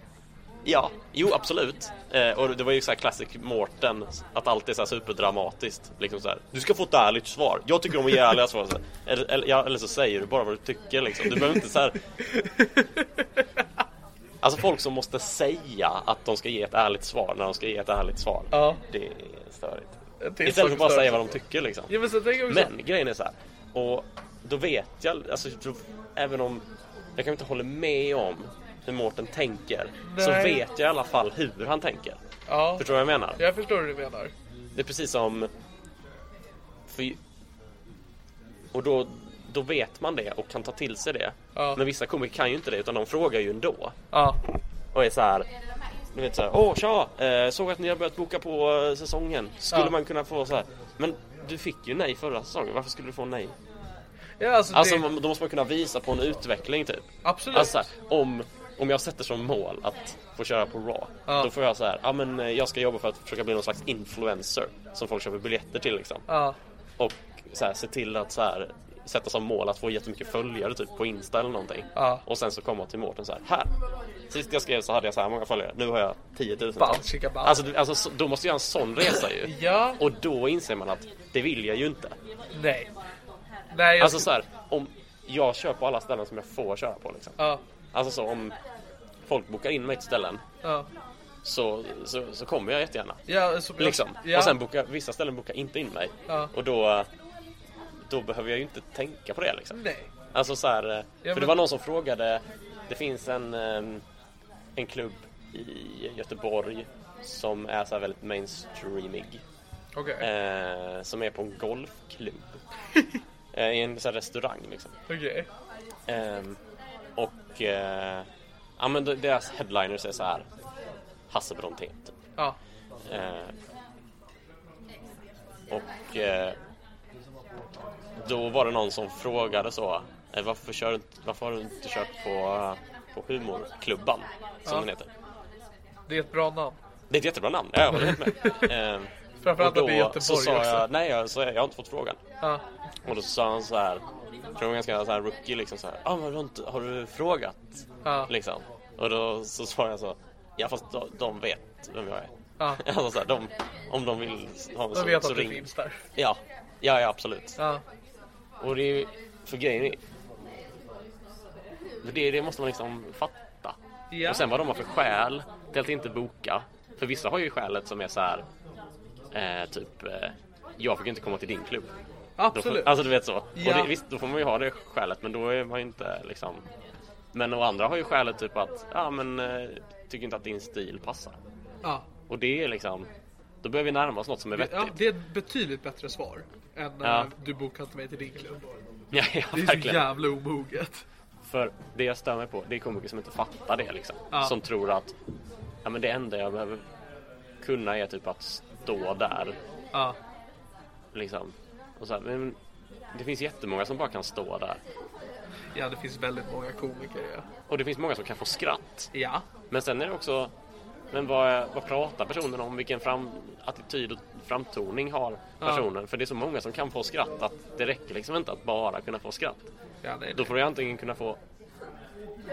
Speaker 3: Ja, jo absolut. Eh, och det var ju så här classic Mårten, att allt är så här superdramatiskt. Liksom så här, du ska få ett ärligt svar. Jag tycker om att ge ärliga svar. Så här. Eller, eller, ja, eller så säger du bara vad du tycker liksom. Du behöver inte så här... Alltså folk som måste säga att de ska ge ett ärligt svar när de ska ge ett ärligt svar.
Speaker 2: *laughs* Ja.
Speaker 3: Det är störigt.
Speaker 2: En till sak
Speaker 3: Istället för att bara
Speaker 2: stör
Speaker 3: säga
Speaker 2: sig
Speaker 3: vad de tycker liksom.
Speaker 2: Ja men så tänker jag också.
Speaker 3: Men grejen är så här. Och då vet jag, alltså då, även om jag kanske inte håller med om hur Mårten tänker. Så
Speaker 2: Nej.
Speaker 3: vet jag i alla fall hur han tänker.
Speaker 2: Ja.
Speaker 3: Förstår du vad jag menar?
Speaker 2: Jag förstår hur du menar.
Speaker 3: Det är precis som... För, och då, då vet man det och kan ta till sig det.
Speaker 2: Ja.
Speaker 3: Men vissa komiker kan ju inte det utan de frågar ju ändå.
Speaker 2: Ja.
Speaker 3: Och är så här. Du vet såhär, åh tja! Eh, såg att ni har börjat boka på eh, säsongen. Skulle
Speaker 2: Ja.
Speaker 3: man kunna få så här. Men du fick ju nej förra säsongen, varför skulle du få nej?
Speaker 2: Ja alltså,
Speaker 3: Alltså
Speaker 2: det...
Speaker 3: man- då måste man kunna visa på en utveckling typ.
Speaker 2: Absolut.
Speaker 3: Alltså, så här, om, om jag sätter som mål att få köra på Raw.
Speaker 2: Ja.
Speaker 3: Då får jag så här, ja men eh, jag ska jobba för att försöka bli någon slags influencer. Som folk köper biljetter till liksom.
Speaker 2: Ja.
Speaker 3: Och så här, se till att så här, sätta som mål att få jättemycket följare typ på Insta eller någonting.
Speaker 2: Ja.
Speaker 3: Och sen så komma till Mårten så här, här. Sist jag skrev så hade jag så här många följare. Nu har jag 10 000.
Speaker 2: Bam, chicka, bam.
Speaker 3: Alltså, du- alltså så- då måste jag göra en sån resa ju.
Speaker 2: Ja.
Speaker 3: Och då inser man att det vill jag ju inte.
Speaker 2: Nej. Nej. Jag...
Speaker 3: Alltså så här, om jag kör på alla ställen som jag får köra på liksom.
Speaker 2: Ja.
Speaker 3: Alltså så om folk bokar in mig till ställen
Speaker 2: Ja.
Speaker 3: så, så, så kommer jag jättegärna.
Speaker 2: Ja, så...
Speaker 3: Liksom.
Speaker 2: Ja.
Speaker 3: Och sen bokar, vissa ställen bokar inte in mig.
Speaker 2: Ja.
Speaker 3: Och då, då behöver jag ju inte tänka på det liksom.
Speaker 2: Nej.
Speaker 3: Alltså så här, eh, för
Speaker 2: men-
Speaker 3: det var någon som frågade, det finns en, ehm, en klubb i Göteborg som är så här väldigt mainstreamig.
Speaker 2: Okej.
Speaker 3: Eh, som är på en
Speaker 2: *laughs*
Speaker 3: golfklubb. eh, I en så här restaurang liksom.
Speaker 2: Okej.
Speaker 3: Ehm, och eh, ja, men de- deras headliners är så här Hasse Brontén typ.
Speaker 2: Ja.
Speaker 3: Eh, och eh, då var det någon som frågade så eh, varför, kör, du inte- varför har du inte kört på, på humorklubban som
Speaker 2: Ja.
Speaker 3: den heter?
Speaker 2: Det är ett bra namn.
Speaker 3: Det är ett jättebra namn, jag håller helt
Speaker 2: *laughs*
Speaker 3: med. Ehm,
Speaker 2: Framförallt
Speaker 3: och
Speaker 2: att det är
Speaker 3: då
Speaker 2: Göteborg
Speaker 3: så sa
Speaker 2: också.
Speaker 3: jag, nej jag, så jag, jag har inte fått frågan.
Speaker 2: Ja.
Speaker 3: Och då sa han så här, jag tror han var ganska så här rookie liksom så här, ah, men har, du inte, har du frågat?
Speaker 2: Ja.
Speaker 3: Liksom. Och då så svarade jag så, ja fast de, de vet vem jag är.
Speaker 2: Ja.
Speaker 3: *laughs* Alltså så här, de, om de vill ha
Speaker 2: Jag
Speaker 3: mig så,
Speaker 2: vet
Speaker 3: så
Speaker 2: att det
Speaker 3: ring.
Speaker 2: finns där.
Speaker 3: Ja, ja, ja absolut.
Speaker 2: Ja.
Speaker 3: Och det är ju, för grejen är, för det, det måste man liksom fatta.
Speaker 2: Ja.
Speaker 3: Och sen vad de har för skäl till att inte boka. För vissa har ju skälet som är så här, eh, typ, eh, jag fick inte komma till din klubb. Då
Speaker 2: Absolut.
Speaker 3: får, alltså du vet så.
Speaker 2: Ja.
Speaker 3: Och det, visst, då får man ju ha det skälet men då är man ju inte liksom Men och andra har ju skälet typ att ja men eh, tycker inte att din stil passar.
Speaker 2: Ja.
Speaker 3: Och det är liksom Då börjar vi närma oss något som är vettigt. *laughs*
Speaker 2: Ja, det är ett betydligt bättre svar än
Speaker 3: Ja.
Speaker 2: eh, du bokar inte mig till din klubb.
Speaker 3: Ja, ja,
Speaker 2: Det är så
Speaker 3: verkligen.
Speaker 2: jävla omoget.
Speaker 3: För det jag stör mig på det är komiker som inte fattar det liksom.
Speaker 2: Ja.
Speaker 3: Som tror att ja men det enda jag behöver kunna är typ att stå där
Speaker 2: Ja,
Speaker 3: liksom. Och så här, men det finns jättemånga som bara kan stå där.
Speaker 2: ja det finns väldigt många komiker. Ja.
Speaker 3: Och det finns många som kan få skratt.
Speaker 2: ja.
Speaker 3: Men sen är det också men vad, vad pratar personen om? Vilken fram, attityd och framtoning har personen? För det är så många som kan få skratt att det räcker liksom inte att bara kunna få skratt.
Speaker 2: Ja, nej,
Speaker 3: Då
Speaker 2: nej.
Speaker 3: får jag antingen kunna få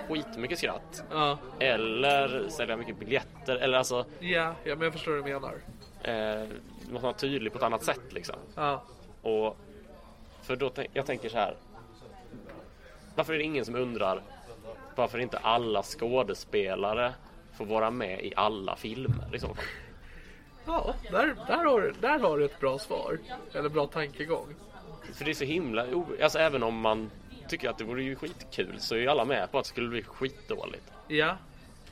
Speaker 3: skitmycket skratt
Speaker 2: Ja,
Speaker 3: eller sälja mycket biljetter eller alltså
Speaker 2: ja, ja, men jag förstår vad du menar.
Speaker 3: eh, måste vara tydlig på ett annat sätt liksom.
Speaker 2: Ja,
Speaker 3: Och för då tänk, jag tänker så här. Varför är det ingen som undrar varför inte alla skådespelare får vara med i alla filmer i så fall?
Speaker 2: ja där, där, har, du- där har du ett bra svar. Eller bra tankegång.
Speaker 3: För det är så himla o- Alltså även om man tycker att det vore ju skitkul så är ju alla med på att det skulle bli skitdåligt.
Speaker 2: Ja.
Speaker 3: Det är
Speaker 2: Ja,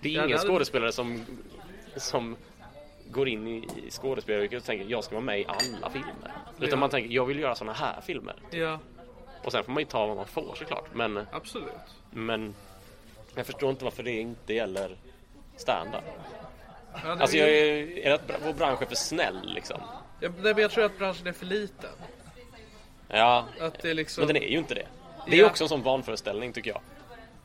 Speaker 2: det hade-
Speaker 3: ingen skådespelare som, som går in i i skådespelaryrket och tänker jag ska vara med i alla filmer.
Speaker 2: Ja.
Speaker 3: Utan man tänker jag vill göra såna här filmer.
Speaker 2: Ja,
Speaker 3: Och sen får man ju ta vad man får såklart. Men,
Speaker 2: absolut.
Speaker 3: men jag förstår inte varför det inte gäller stand-up.
Speaker 2: Ja, det-
Speaker 3: Alltså jag är, är det att bra- vår bransch är för snäll liksom?
Speaker 2: Ja, nej, men jag tror att branschen är för liten.
Speaker 3: Ja,
Speaker 2: Att det är liksom...
Speaker 3: men den är ju inte det. Det är
Speaker 2: Ja.
Speaker 3: också en sån vanföreställning tycker jag.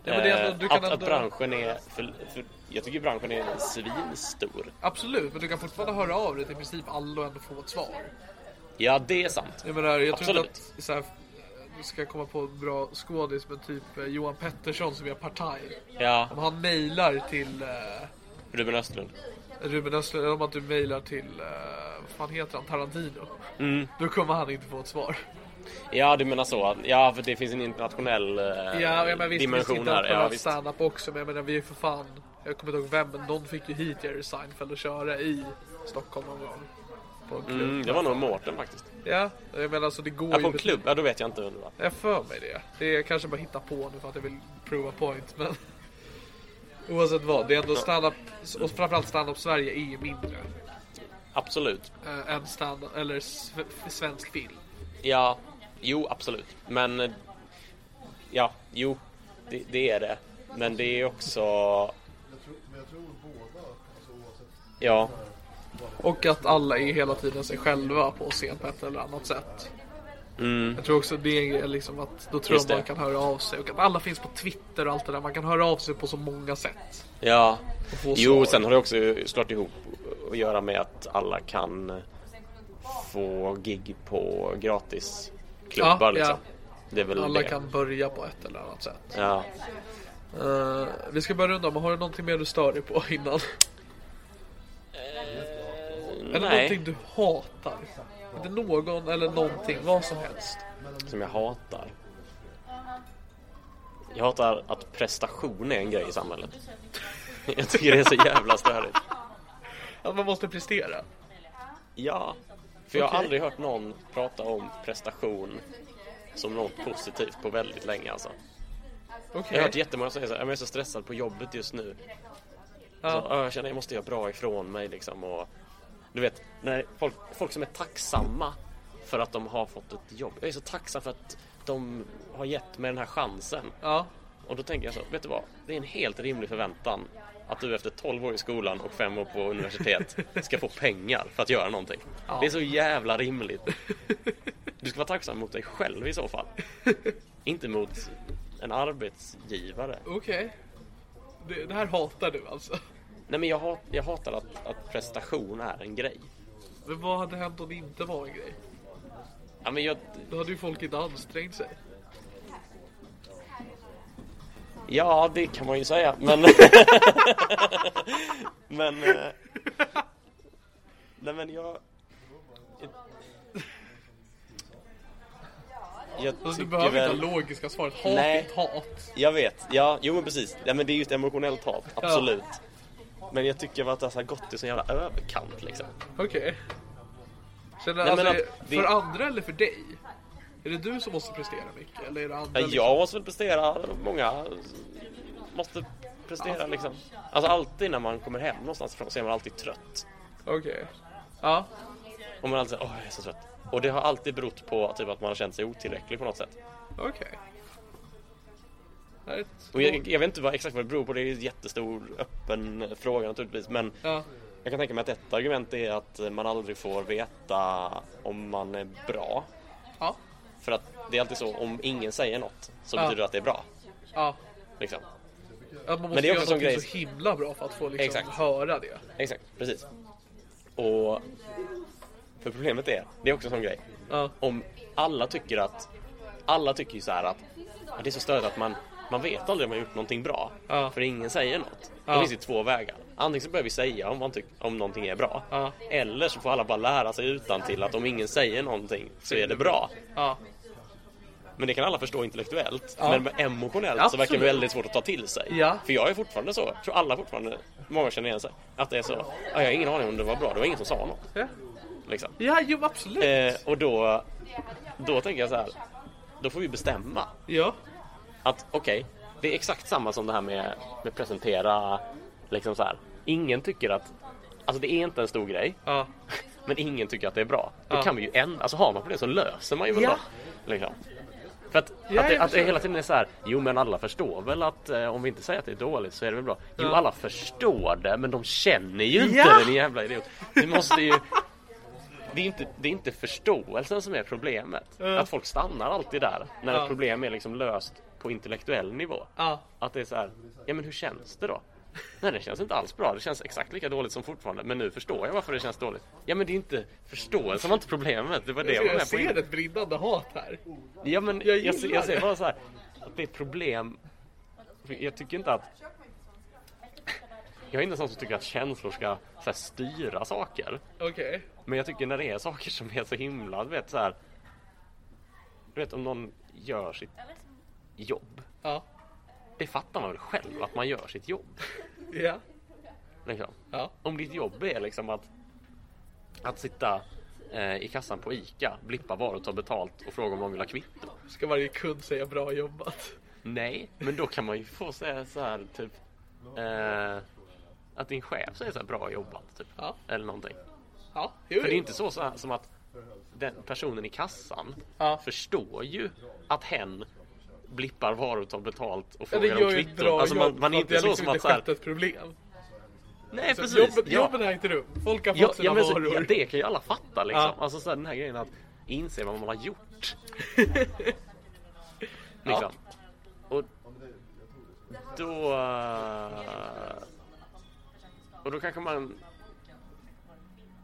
Speaker 2: Ja, men det är ändå-
Speaker 3: Eh,
Speaker 2: du kan
Speaker 3: att, att
Speaker 2: ändå-
Speaker 3: branschen är för, för, Jag tycker branschen är svinstor.
Speaker 2: Absolut, men du kan fortfarande höra av dig till i princip alla och ändå få ett svar.
Speaker 3: Ja, det är sant.
Speaker 2: Jag menar, jag tror inte
Speaker 3: Absolut.
Speaker 2: att så här, nu ska jag komma på en bra skådis, men typ eh, Johan Pettersson som gör Partaj.
Speaker 3: Ja,
Speaker 2: Om han mejlar till eh,
Speaker 3: Ruben Östlund.
Speaker 2: Ruben Östlund, eller om att du mejlar till, eh, vad fan heter han, Tarantino.
Speaker 3: Mm.
Speaker 2: Då kommer han inte få ett svar.
Speaker 3: Ja, du menar så. Ja, för det finns en internationell eh,
Speaker 2: Ja, men visst, vi
Speaker 3: dimension
Speaker 2: sitter
Speaker 3: här.
Speaker 2: här,
Speaker 3: Ja,
Speaker 2: ja,
Speaker 3: visst.
Speaker 2: stand-up också, men jag menar vi är ju för fan, jag kommer inte ihåg vem, men någon fick ju hit Jerry Seinfeld att köra i Stockholm någon gång. På en klubb.
Speaker 3: Mm, det var nog Mårten faktiskt.
Speaker 2: Ja, jag menar alltså det går
Speaker 3: Ja, på
Speaker 2: ju...
Speaker 3: en klubb? Ja, då vet jag inte. Undra.
Speaker 2: Jag för mig det. Det är kanske bara hitta på nu för att jag vill prova point, men... *laughs* Oavsett vad, det är ändå stand-up, och framförallt stand-up Sverige är ju mindre
Speaker 3: Absolut.
Speaker 2: eh, än stand-up, eller sv- svensk film.
Speaker 3: Ja, jo, absolut. Men... eh, Ja, jo, det, det är det. Men det är också... Ja,
Speaker 2: Och att alla är hela tiden sig själva på scen på ett eller annat sätt. Jag tror också det är liksom att då tror
Speaker 3: Mm. Just
Speaker 2: jag man
Speaker 3: det.
Speaker 2: kan höra av sig och att alla finns på Twitter och allt det där. Man kan höra av sig på så många sätt.
Speaker 3: ja.
Speaker 2: få svar.
Speaker 3: Jo, sen har det också såklart ihop att göra med att alla kan få gig på gratisklubbar.
Speaker 2: Ja, ja.
Speaker 3: liksom. Det är väl
Speaker 2: Alla
Speaker 3: det.
Speaker 2: kan börja på ett eller annat sätt.
Speaker 3: Ja.
Speaker 2: Eh, vi ska börja runda om. Har du någonting mer du stör dig på innan? Eller någonting
Speaker 3: Nej,
Speaker 2: du hatar? Inte någon eller någonting, vad som helst.
Speaker 3: som jag hatar. Jag hatar att prestation är en grej i samhället. *laughs* Jag tycker det är så jävla störigt.
Speaker 2: Att man måste prestera.
Speaker 3: Ja, för jag har aldrig hört någon prata om prestation som något positivt på väldigt länge alltså. Jag
Speaker 2: Okej.
Speaker 3: har hört jättemånga säga så här, "Ja, men jag är så stressad på jobbet just nu. Så,
Speaker 2: Ja.
Speaker 3: "Ja, jag känner jag måste göra bra ifrån mig liksom och du vet, när folk, folk som är tacksamma för att de har fått ett jobb. Jag är så tacksam för att de har gett mig den här chansen.
Speaker 2: Ja.
Speaker 3: Och då tänker jag så, vet du vad? Det är en helt rimlig förväntan att du efter 12 år i skolan och 5 år på universitet ska få pengar för att göra någonting. Det är så jävla rimligt. Du ska vara tacksam mot dig själv i så fall. Inte mot en arbetsgivare.
Speaker 2: Okej. Det, det här hatar du alltså?
Speaker 3: Nej men jag, hat, jag hatar att, att prestation är en grej.
Speaker 2: Men vad hade hänt om det inte var en grej?
Speaker 3: Ja, men jag,
Speaker 2: Då hade ju folk inte ansträngt sig.
Speaker 3: ja det kan man ju säga
Speaker 2: *laughs*
Speaker 3: men... men... eh, Nej men jag... Jag
Speaker 2: Alltså, du
Speaker 3: tycker
Speaker 2: behöver inte
Speaker 3: väl...
Speaker 2: ha logiska svaret. Hat
Speaker 3: Nej.
Speaker 2: är ett hat.
Speaker 3: Jag vet, ja, jo men precis. Ja, men det är just emotionellt hat, absolut. Men jag tycker väl att det har gått till sån jävla överkant liksom.
Speaker 2: Okej. Känner
Speaker 3: Nej, men
Speaker 2: alltså,
Speaker 3: att det-
Speaker 2: för andra eller för dig? Är det du som måste prestera mycket? Eller är det andra?
Speaker 3: Ja,
Speaker 2: liksom?
Speaker 3: jag måste väl prestera, många måste prestera liksom. Alltså alltid när man kommer hem någonstans ifrån så är man alltid trött.
Speaker 2: liksom? Okej. Ja.
Speaker 3: Och man är alltid såhär, åh jag är så trött. Och det har alltid berott på typ att man har känt sig otillräcklig på något sätt.
Speaker 2: Okej. Det här är ett-
Speaker 3: Och jag, jag vet inte vad, exakt vad det beror på, det är ju en jättestor öppen fråga naturligtvis. Men
Speaker 2: Ja.
Speaker 3: jag kan tänka mig att ett argument är att man aldrig får veta om man är bra.
Speaker 2: Ja.
Speaker 3: För att det är alltid så, om ingen säger något så
Speaker 2: Ja.
Speaker 3: betyder det att det är bra.
Speaker 2: ja.
Speaker 3: Liksom.
Speaker 2: Att man
Speaker 3: Men
Speaker 2: måste
Speaker 3: det är
Speaker 2: göra
Speaker 3: också en
Speaker 2: någonting
Speaker 3: grej-
Speaker 2: så himla bra för att få liksom
Speaker 3: Exakt.
Speaker 2: höra det.
Speaker 3: Exakt, precis. Och... För problemet är, det är också en sån grej.
Speaker 2: Ja.
Speaker 3: Om alla tycker att... Alla tycker ju så här att... "Ja, Det är så störigt att man... Man vet aldrig om man har gjort någonting bra.
Speaker 2: Ja.
Speaker 3: För ingen säger något.
Speaker 2: Ja.
Speaker 3: Då finns det två vägar. Antingen så börjar vi säga om, man tyck, om någonting är bra.
Speaker 2: Ja.
Speaker 3: Eller så får alla bara lära sig utan till att om ingen säger någonting så är det bra.
Speaker 2: Ja.
Speaker 3: Men det kan alla förstå intellektuellt.
Speaker 2: Ja.
Speaker 3: Men emotionellt så verkar det
Speaker 2: Absolut.
Speaker 3: väldigt svårt att ta till sig.
Speaker 2: Ja.
Speaker 3: För jag är fortfarande så, tror alla fortfarande, många känner igen sig, att det är så. "Ah, Jag har ingen aning om det var bra, det var ingen som sa något.
Speaker 2: Ja.
Speaker 3: Liksom.
Speaker 2: Ja, jo absolut.
Speaker 3: Eh, och då, då tänker jag så här, då får vi bestämma.
Speaker 2: Ja.
Speaker 3: att okej, det är exakt samma som det här med, med presentera liksom så här. Ingen tycker att, alltså det är inte en stor grej,
Speaker 2: Ja.
Speaker 3: men ingen tycker att det är bra. Då
Speaker 2: Ja.
Speaker 3: kan vi ju en, alltså har man problem så löser man ju väl
Speaker 2: Ja.
Speaker 3: det. Liksom. För att,
Speaker 2: Ja,
Speaker 3: att, det,
Speaker 2: jag
Speaker 3: att det
Speaker 2: förstår.
Speaker 3: hela tiden är så här, jo men alla förstår väl att eh, om vi inte säger att det är dåligt så är det väl bra. Jo
Speaker 2: Ja.
Speaker 3: alla förstår det men de känner ju inte
Speaker 2: Ja.
Speaker 3: det ni jävla idiot. Ni måste ju det är, inte, det är inte förståelsen som är problemet.
Speaker 2: Ja.
Speaker 3: Att folk stannar alltid där när
Speaker 2: Ja.
Speaker 3: ett problem är liksom löst på intellektuell nivå.
Speaker 2: Ja.
Speaker 3: Att det är så här, ja men hur känns det då? Nej det känns inte alls bra, det känns exakt lika dåligt som fortfarande. Men nu förstår jag varför det känns dåligt. Ja men det är inte förståelsen var inte problemet, det var det
Speaker 2: Jag,
Speaker 3: jag var
Speaker 2: jag
Speaker 3: med på innan.
Speaker 2: ser ett brinnande hat här.
Speaker 3: Ja men
Speaker 2: Jag
Speaker 3: jag, jag, ser-
Speaker 2: gillar
Speaker 3: jag säger
Speaker 2: det.
Speaker 3: bara så här, att det är ett problem. Jag tycker inte att... Jag är inte en sån som tycker att känslor ska så här, styra saker.
Speaker 2: Okej.
Speaker 3: Men jag tycker när det är saker som är så himla, du vet så här. Du vet om någon gör sitt jobb.
Speaker 2: Ja.
Speaker 3: Det fattar man väl själv att man gör sitt jobb.
Speaker 2: Ja.
Speaker 3: Liksom.
Speaker 2: Ja.
Speaker 3: Om ditt jobb är liksom att, att sitta eh, i kassan på ICA, blippa varor, ta betalt och fråga om någon vill ha kvitto.
Speaker 2: Ska varje kund säga bra jobbat?
Speaker 3: Nej, men då kan man ju få säga så här typ eh, att din chef säger så här bra jobbat typ.
Speaker 2: Ja.
Speaker 3: Eller någonting.
Speaker 2: Ja. Jo,
Speaker 3: För det är
Speaker 2: jo.
Speaker 3: inte så, så här, som att den personen i kassan
Speaker 2: Ja.
Speaker 3: förstår ju att hen blippar varor, tar betalt och
Speaker 2: Ja, det
Speaker 3: frågar
Speaker 2: gör
Speaker 3: om
Speaker 2: ju ett
Speaker 3: kvitton.
Speaker 2: bra
Speaker 3: Alltså man,
Speaker 2: jobb
Speaker 3: man är
Speaker 2: för
Speaker 3: inte
Speaker 2: att
Speaker 3: så
Speaker 2: det har liksom
Speaker 3: som att
Speaker 2: inte
Speaker 3: så här,
Speaker 2: skett ett problem.
Speaker 3: Nej
Speaker 2: Så
Speaker 3: precis.
Speaker 2: Jobben,
Speaker 3: ja.
Speaker 2: jobben har inte rum. Folk har fått
Speaker 3: Ja,
Speaker 2: sina
Speaker 3: ja, men, så-
Speaker 2: varor.
Speaker 3: ja, det kan ju alla fatta liksom.
Speaker 2: Ja.
Speaker 3: Alltså så här, den här grejen att inse vad man har gjort.
Speaker 2: *laughs* Ja.
Speaker 3: liksom. Och då... eh, Och då kanske man...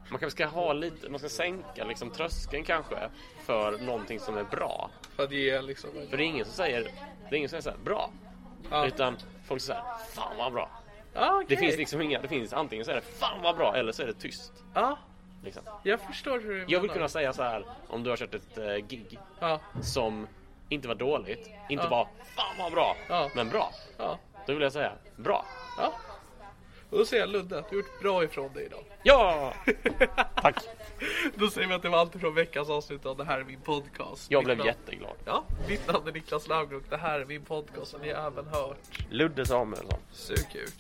Speaker 3: Man kanske ska ha lite, man ska sänka liksom tröskeln kanske för någonting som är bra.
Speaker 2: För att ge liksom...
Speaker 3: För det är ingen som säger, det är ingen som säger så här, bra.
Speaker 2: Ja.
Speaker 3: Utan folk säger så här, fan vad bra.
Speaker 2: Ja, Ah, okej.
Speaker 3: Det finns liksom inga, det finns antingen så är det fan vad bra eller så är det tyst.
Speaker 2: Ja,
Speaker 3: Liksom.
Speaker 2: jag förstår hur du
Speaker 3: Jag vill
Speaker 2: menar.
Speaker 3: kunna säga så här om du har kört ett eh, gig
Speaker 2: Ja,
Speaker 3: som inte var dåligt, inte
Speaker 2: Ja.
Speaker 3: var fan vad bra,
Speaker 2: Ja.
Speaker 3: men bra.
Speaker 2: ja,
Speaker 3: Då vill jag säga bra.
Speaker 2: ja. Och då säger jag Ludde att du har gjort bra ifrån dig idag. *laughs*
Speaker 3: Ja! Tack.
Speaker 2: Då säger vi att det var allt från veckans avsnitt av Det här är min podcast.
Speaker 3: Jag
Speaker 2: Mitt
Speaker 3: blev
Speaker 2: namn-
Speaker 3: jätteglad.
Speaker 2: Ja, mitt namn är Niklas Laugren och det här är min podcast som ni även hört.
Speaker 3: Ludde Samuelsson.
Speaker 2: Sug kuk.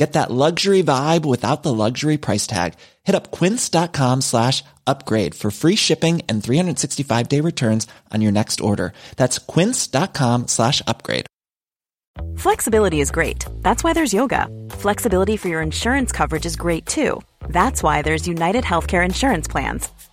Speaker 5: Get that luxury vibe without the luxury price tag. Hit up quince.com slash upgrade for free shipping and 365 day returns on your next order. That's quince.com slash upgrade.
Speaker 6: Flexibility is great. That's why there's yoga. Flexibility for your insurance coverage is great too. That's why there's United Healthcare Insurance Plans.